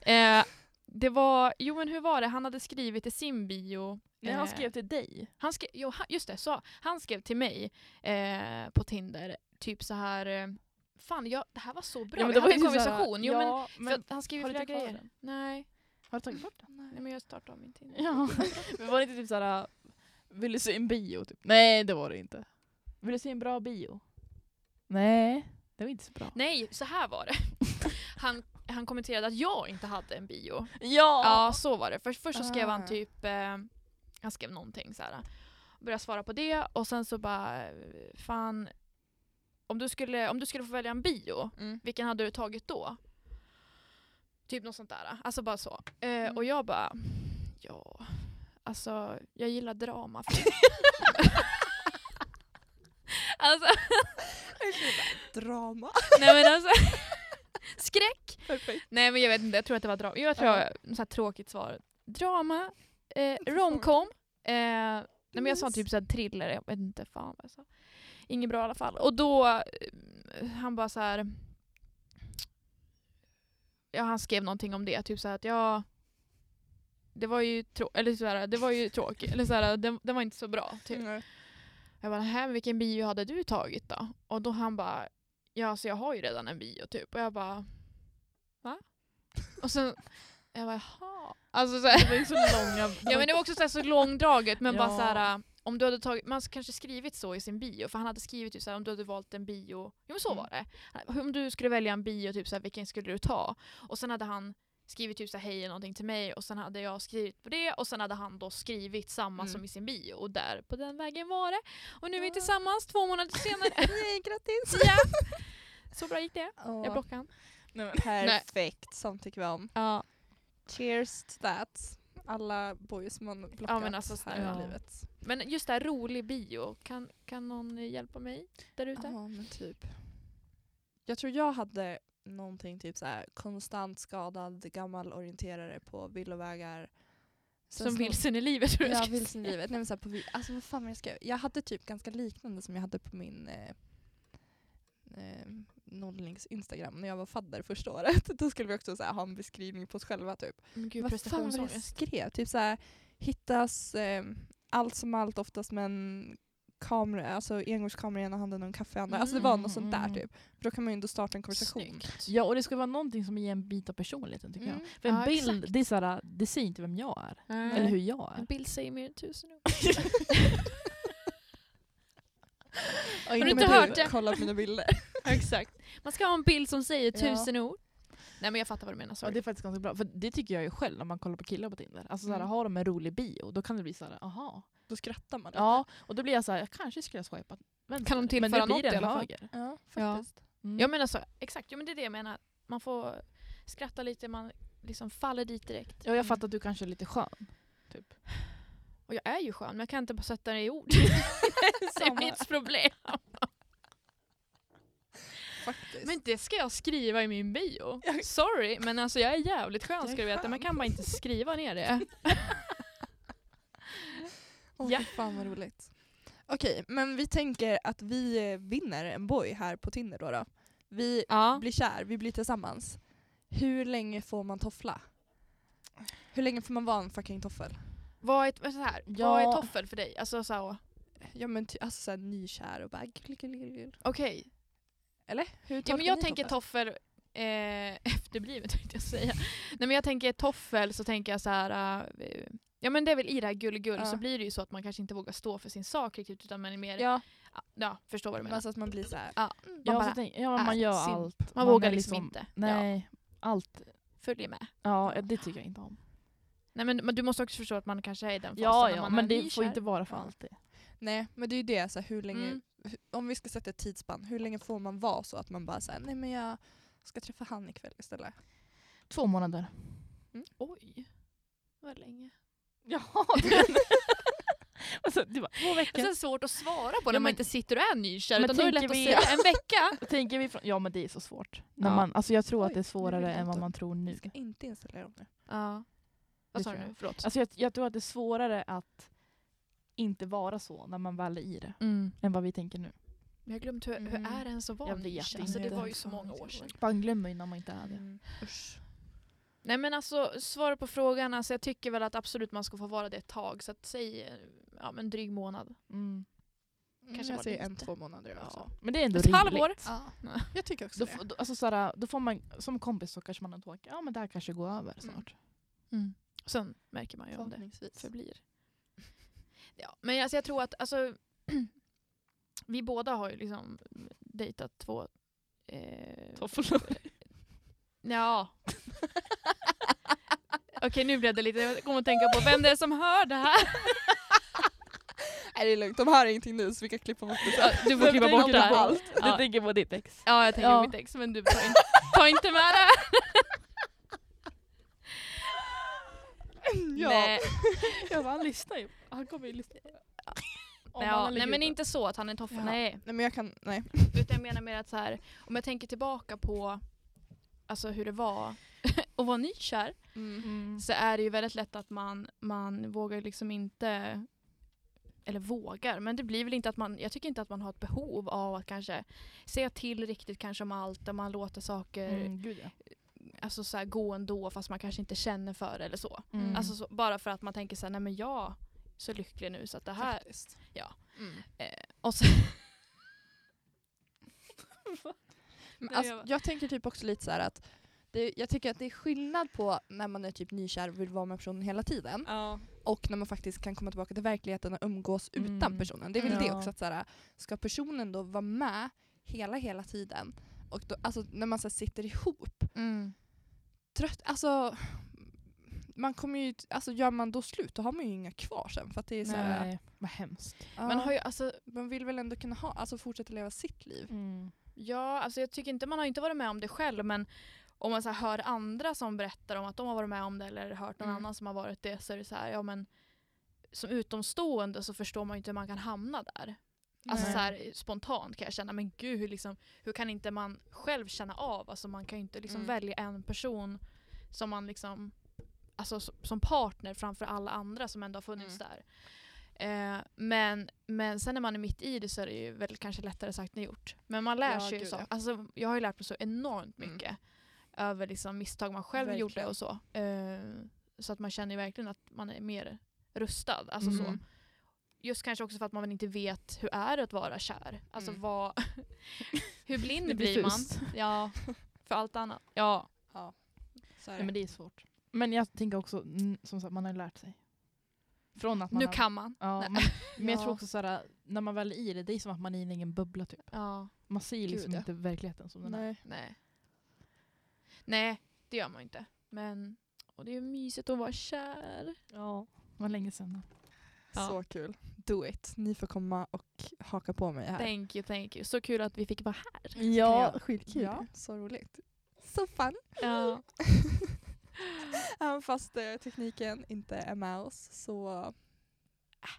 eh, det var, jo men hur var det, han hade skrivit i sin bio
Nej,
Eh.
han skrev till dig.
Han skrev, jo, han, just det, så, han skrev till mig eh, på Tinder, typ så här. eh, Fan, jag, det här var så bra.
Ja, men
vi
det var
hade en
ju typ så här,
konversation. Jo, men,
ja,
för att han skrev ju
har du
flera
inte kvar
grejer.
den?
Nej.
Har du tagit bort den?
Nej, men jag startade om min Tinder.
Ja. [LAUGHS] men var det inte typ såhär, äh, vill du se en bio? Typ? Nej, det var det inte. Vill du se en bra bio? Nej, det var inte så bra.
Nej, så här var det. [LAUGHS] Han, han kommenterade att jag inte hade en bio.
Ja!
Ja, så var det. För, först så skrev
Ah.
han typ, eh, han skrev någonting så här. Började svara på det och sen så bara, eh, fan, om du skulle, om du skulle få välja en bio,
Mm.
vilken hade du tagit då? Typ något sånt där. Alltså bara så. Eh,
Mm.
Och jag bara, ja, alltså jag gillar drama. alltså,
Drama. [LAUGHS]
nej men alltså. [LAUGHS] Skräck!
Perfekt.
Nej men jag vet inte, jag tror att det var drama. Jag tror jag, så här tråkigt svar. Drama, eh, romcom. Eh, nej men jag sa
Nice.
typ såhär thriller, jag vet inte fan vad jag sa. Inget bra i alla fall. Och då, eh, han bara så här. Ja han skrev någonting om det, typ såhär att jag det var ju, trå- eller så här, det var ju tråkigt, eller så här, den, den var inte så bra. Typ.
Mm.
Jag bara, "Nähä, men vilken bio hade du tagit då? Och då han bara, ja så jag har ju redan en bio typ. Och jag bara, va? Och sen, jag bara, jaha. Alltså så här,
Det var ju så [LAUGHS] långa...
ja men det var också så, här, så långdraget men bara
Ja.
så här, äh, om du hade tagit, man kanske skrivit så i sin bio, för han hade skrivit ju så här, om du hade valt en bio, jo men så
Mm.
var det. Om du skulle välja en bio, typ så här, vilken skulle du ta? Och sen hade han skrivit typ så här, hej eller någonting till mig och sen hade jag skrivit på det och sen hade han då skrivit samma
Mm.
som i sin bio och där på den vägen var det. Och nu är vi tillsammans två månader [LAUGHS] senare.
Yay, grattis!
ja. Så bra gick det. Jag blockade han.
Perfekt, samtycker vi om.
Ja.
Cheers to that. Alla boys man blockat
men alltså,
här
snälla.
i livet.
Men just det här rolig bio, kan, kan någon eh, hjälpa mig där ute?
Ja, men typ. Jag tror jag hade någonting typ så här konstant skadad gammal orienterare på villovägar. Sen
Som
så-
vilsen i livet tror jag
Ja,
ska säga.
vilsen i livet. Nej, men så här på, vi- alltså, vad fan var det jag, skrev? jag hade typ ganska liknande som jag hade på min eh, eh, nollnings Instagram när jag var fadder första året. [LAUGHS] Då skulle vi också så här, ha en beskrivning på oss själva typ.
Men Mm, gud,
Vad fan var det jag
prestationsångest.
skrev? Typ så här, hittas eh, allt som allt oftast med en kamera, alltså engångskamera i ena handen och en kaffe i andra. Alltså det var något sånt där
Mm.
typ. För då kan man ju ändå starta en konversation.
Snyggt.
Ja, och det ska vara någonting som ger en bit av personligheten tycker
Mm.
jag. För en
Ja,
bild,
exakt.
det är såhär, det säger inte vem jag är.
Nej.
Eller hur jag
En
är.
bild säger mer än tusen [LAUGHS] ord.
Har
inte hört det?
Kolla på mina bilder.
Exakt. Man ska ha en bild som säger
Ja.
tusen ord. Nej men jag fattar vad du menar,
Ja,
sorry.
det är faktiskt ganska bra. För det tycker jag ju själv när man kollar på killar på Tinder. Alltså
Mm.
såhär, har de en rolig bio, då kan det bli såhär, aha.
Då skrattar man.
Ja, och då blir jag såhär, jag kanske skulle ha swipat vänster.
Kan de
men det
tillföra något
blir
i
en
alla fall?
höger.
ja
Ja.
faktiskt.
Mm.
Jag menar så, exakt, jo, men det är det jag menar. Man får skratta lite, man liksom faller dit direkt. Mm.
Ja, jag fattar att du kanske är lite skön.
Och jag är ju skön, men jag kan inte bara sätta det i ord. det är mitt problem.
faktiskt.
Men det ska jag skriva i min bio. Sorry, men alltså jag är jävligt skön
är
ska du veta, men jag kan bara inte skriva ner det.
Åh,
Ja.
fy fan vad roligt. Okej, men vi tänker att vi eh, vinner en boy här på Tinder då. då. Vi
Ja.
blir kär, vi blir tillsammans. Hur länge får man toffla? Hur länge får man vara en fucking toffel?
Vad är, vad är så här,
Ja.
vad är toffel för dig? Alltså så här,
Ja men ty- alltså såhär nykär och bara gull, gull, gull, gull.
okej.
Eller? Hur
Ja,
tolkar
men jag
ni
tänker toffel eh, [LAUGHS] efterblivet tänkte jag säga. Nej men jag tänker toffel så tänker jag så här. eh, ja men det är väl i det här gull-gull
Ja.
så blir det ju så att man kanske inte vågar stå för sin sak riktigt utan man är mer, ja,
Ja,
förstår vad du
men
menar.
alltså att man blir såhär.
Man,
Ja,
bara,
så tänk, ja, man
är
gör
äh, simp.
allt.
man, vågar
är
liksom inte. Ja,
Nej, allt.
följer med.
Ja, det tycker jag inte om.
Nej men, men du måste också förstå att man kanske är i den fasen
Ja,
när
ja
man är
men det
nykär.
får inte vara för
Ja.
alltid.
Nej men det är ju det, såhär, hur länge,
Mm.
hu- om vi ska sätta ett tidsspann, hur länge får man vara så att man bara säger nej men jag ska träffa han ikväll istället.
Två månader.
Oj. Vad länge.
[LAUGHS] Jaha! den- alltså, det var två
Och sen
veckor.
är det svårt att svara på när
Ja,
man
men-
inte sitter och är nykär.
Men
Utan då är det lätt
tänker
att
vi-
säga en vecka.
Tänker vi från, ja men det är så svårt. När
Ja.
man, alltså, jag tror
Oj,
att det är
nu vill
svårare
jag
än vad
inte.
man tror nu.
Jag ska inte installera dem nu.
Ja. Vad
Det
sa
tror
du
jag.
nu? Förlåt.
Alltså, jag, jag tror att det är svårare att inte vara så när man väl är i det,
Mm.
än vad vi tänker nu.
Men jag har glömt hur,
Mm.
hur är det ens att vara
Jag vet
nykär?
inte.
Alltså, det
Jag
var
vet
ju så
fan
många
inte
år sedan.
Man glömmer ju när man inte är det.
Mm. Usch.
Nej men alltså svara på frågan, alltså, jag tycker väl att absolut man ska få vara det ett tag. Så att säg eh, ja, men dryg månad.
Mm.
Kanske
Kanske jag
var
säger
lite.
en, två månader
Ja.
också.
Men det är ändå
Ett
rimligt.
halvår.
Ja.
Ja.
[LAUGHS] Jag tycker också
Då,
det.
f- då, alltså, såhär, då får man, som kompis så kanske man ändå åker, ja men det här kanske går över
Mm.
snart.
Sen märker man ju om det
Förhoppningsvis.
förblir. Ja, men alltså, jag tror att alltså, [CLEARS THROAT] vi båda har ju liksom dejtat två... Eh,
Tofflor.
[LAUGHS] ja. Okej nu blev det lite, jag kommer att tänka på vem det är som hör det här.
Nej det är lugnt, de hör ingenting nu så vi kan klippa bort det sen.
Ja, du får klippa bort [LAUGHS] det här. Ja.
Du tänker på ditt ex.
Ja, jag tänker
Ja.
på mitt ex, men du tar inte, ta inte med det.
Ja.
Nej,
Jag bara, han lyssnar ju. Han kommer ju lyssna. på det. Om han
ja,
har
nej
legat
men
ute.
inte så att han är en toffel.
Jaha.
Nej.
Nej men jag kan, nej.
Utan jag menar mer att så här, om jag tänker tillbaka på alltså hur det var [LAUGHS] att vara nykär
Mm.
så är det ju väldigt lätt att man, man vågar liksom inte eller vågar, men det blir väl inte att man, jag tycker inte att man har ett behov av att kanske säga till riktigt kanske om allt och man låter saker
Mm, gud ja.
alltså så här, gå ändå fast man kanske inte känner för det eller så.
Mm.
Alltså så, bara för att man tänker så här, nej men jag är så lycklig nu så att det här...
Faktiskt.
Ja.
Mm. [LAUGHS]
Och så,
Men
Nej,
alltså,
jag-
jag tänker typ också lite så här att det, jag tycker att det är skillnad på när man är typ nykär och vill vara med personen hela tiden och när man faktiskt kan komma tillbaka till verkligheten och umgås
Mm.
utan personen. Det är väl
Mm.
det
Ja.
också, att så här, ska personen då vara med hela hela tiden och då, alltså, när man så här, sitter ihop,
Mm.
trött, alltså man kommer ju, alltså gör man då slut då har man ju inga kvar sen för att det är så här,
Nej, vad hemskt.
ja,
Man har ju, alltså,
man vill väl ändå kunna ha, alltså fortsätta leva sitt liv.
Mm.
ja, alltså jag tycker inte, man har inte varit med om det själv men om man så här, hör andra som berättar om att de har varit med om det eller hört någon
Mm.
annan som har varit det så är det så här, ja men som utomstående så förstår man ju inte hur man kan hamna där. Alltså
Nej.
så här, spontant kan jag känna, men gud hur, liksom, hur kan inte man själv känna av? Alltså man kan ju inte liksom
Mm.
välja en person som man liksom, alltså s- som partner framför alla andra som ändå har funnits
Mm.
där. Eh, men, men sen när man är mitt i det så är det ju väl kanske lättare sagt än gjort. Men man lär
Ja,
sig ju
gud,
så.
ja.
Alltså, jag har ju lärt mig så enormt
Mm.
mycket över liksom misstag man själv
Verkligen.
gjorde och så. Eh, så att man känner ju verkligen att man är mer rustad. Alltså så.
Mm.
Just kanske också för att man väl inte vet hur är det att vara kär. Alltså
Mm.
vad... [LAUGHS] hur blind
Det
blir
blir
man? Ja, för allt annat. Ja.
Så är
Nej, men det är svårt. Men jag tänker också, mm, som sagt, man har ju lärt sig. Från att man
Nu
har,
kan man.
Ja,
Nej.
[LAUGHS] men, men jag
Ja.
tror också såhär, när man väl är i det, det är som att man är i en egen bubbla typ.
Ja,
Man ser ju liksom
Gud, ja.
inte verkligheten som den är.
Nej.
nej. Nej, det gör man inte. Men och det är mysigt att vara kär.
Ja, det var länge sedan.
Ja.
Så kul. Do it. Ni får komma och haka på mig här.
Thank you, thank you. Så kul att vi fick vara här.
Ja, skitkul.
Ja, så roligt. Så fun.
Ja.
[LAUGHS] Även fast eh, tekniken inte är med oss så äh,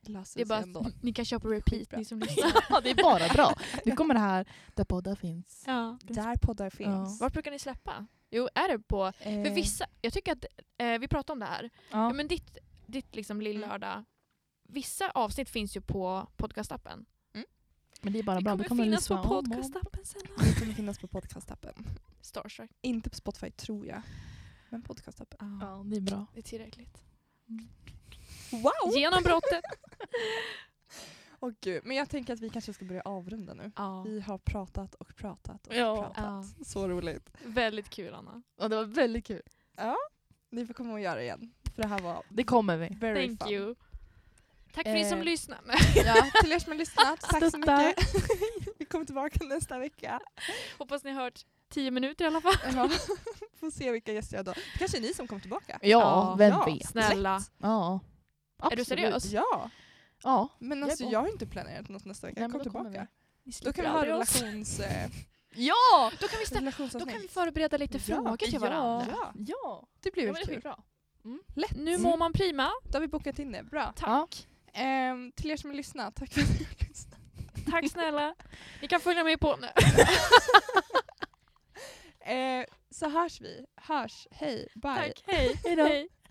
Det
löser
är
det sig
bara
ändå.
ni kan köpa repeat
Skitbra.
ni som lyssnar.
[LAUGHS] Ja, det är bara bra. Nu kommer det här där poddar finns.
ja.
Där poddar finns.
Vart brukar ni släppa? Jo, är det på... För
Eh,
vissa, jag tycker att eh, vi pratade om det här. Ja.
Ja.
men ditt, ditt liksom lillördag. Vissa avsnitt finns ju på podcastappen.
Men det är bara
Det
bra.
kommer,
Det kommer
finnas på
lyssna om och-
podcastappen sen.
Det kommer finnas på podcastappen.
Starstruck.
Inte på Spotify tror jag. Men podcastappen.
Ja, det är bra.
Det är tillräckligt.
Wow!
Genombrottet.
Åh gud. Men jag tänker att vi kanske ska börja avrunda nu.
ja.
Vi har pratat och pratat och
Ja.
pratat. Så roligt.
Väldigt kul Anna.
Ja, det var väldigt kul.
Ni får komma och göra det igen. För det här var
Det kommer vi.
very
Thank
fun.
you. Tack för er som
Eh,
lyssnar. [LAUGHS]
Ja, till er som har lyssnat, tack så
Stöttar.
mycket. [LAUGHS] Vi kommer tillbaka nästa vecka.
Hoppas ni har hört tio minuter i alla fall.
Ja. [LAUGHS] Får se vilka gäster jag har då. Kanske är ni som kommer tillbaka.
Ja, vem
ja,
vet?
Snälla.
Ja.
Är du seriös?
Ja,
Ja.
men
är
alltså
på.
jag har inte planerat något nästa vecka.
Nej, men
Kom
då kommer
tillbaka.
Ni
Då kan
slipper
vi ha
aldrig oss.
relations, [LAUGHS] eh,
Ja! Då kan vi, ställa, då
relationsavsnitt.
kan vi förbereda lite
Ja,
frågor till
ja.
varandra.
Ja,
Ja,
det blir
ja
väl
men det är
kul.
skitbra.
Mm.
Nu mår man prima.
Då har vi bokat in det. Bra.
Tack.
Ehm, till er som har lyssnat, tack för att ni har [LAUGHS] lyssnat.
Tack snälla. Ni kan följa mig på...
Ehm, så hörs vi. Hörs. Hej. Bye.
Tack, hej.
Hej då.
hej.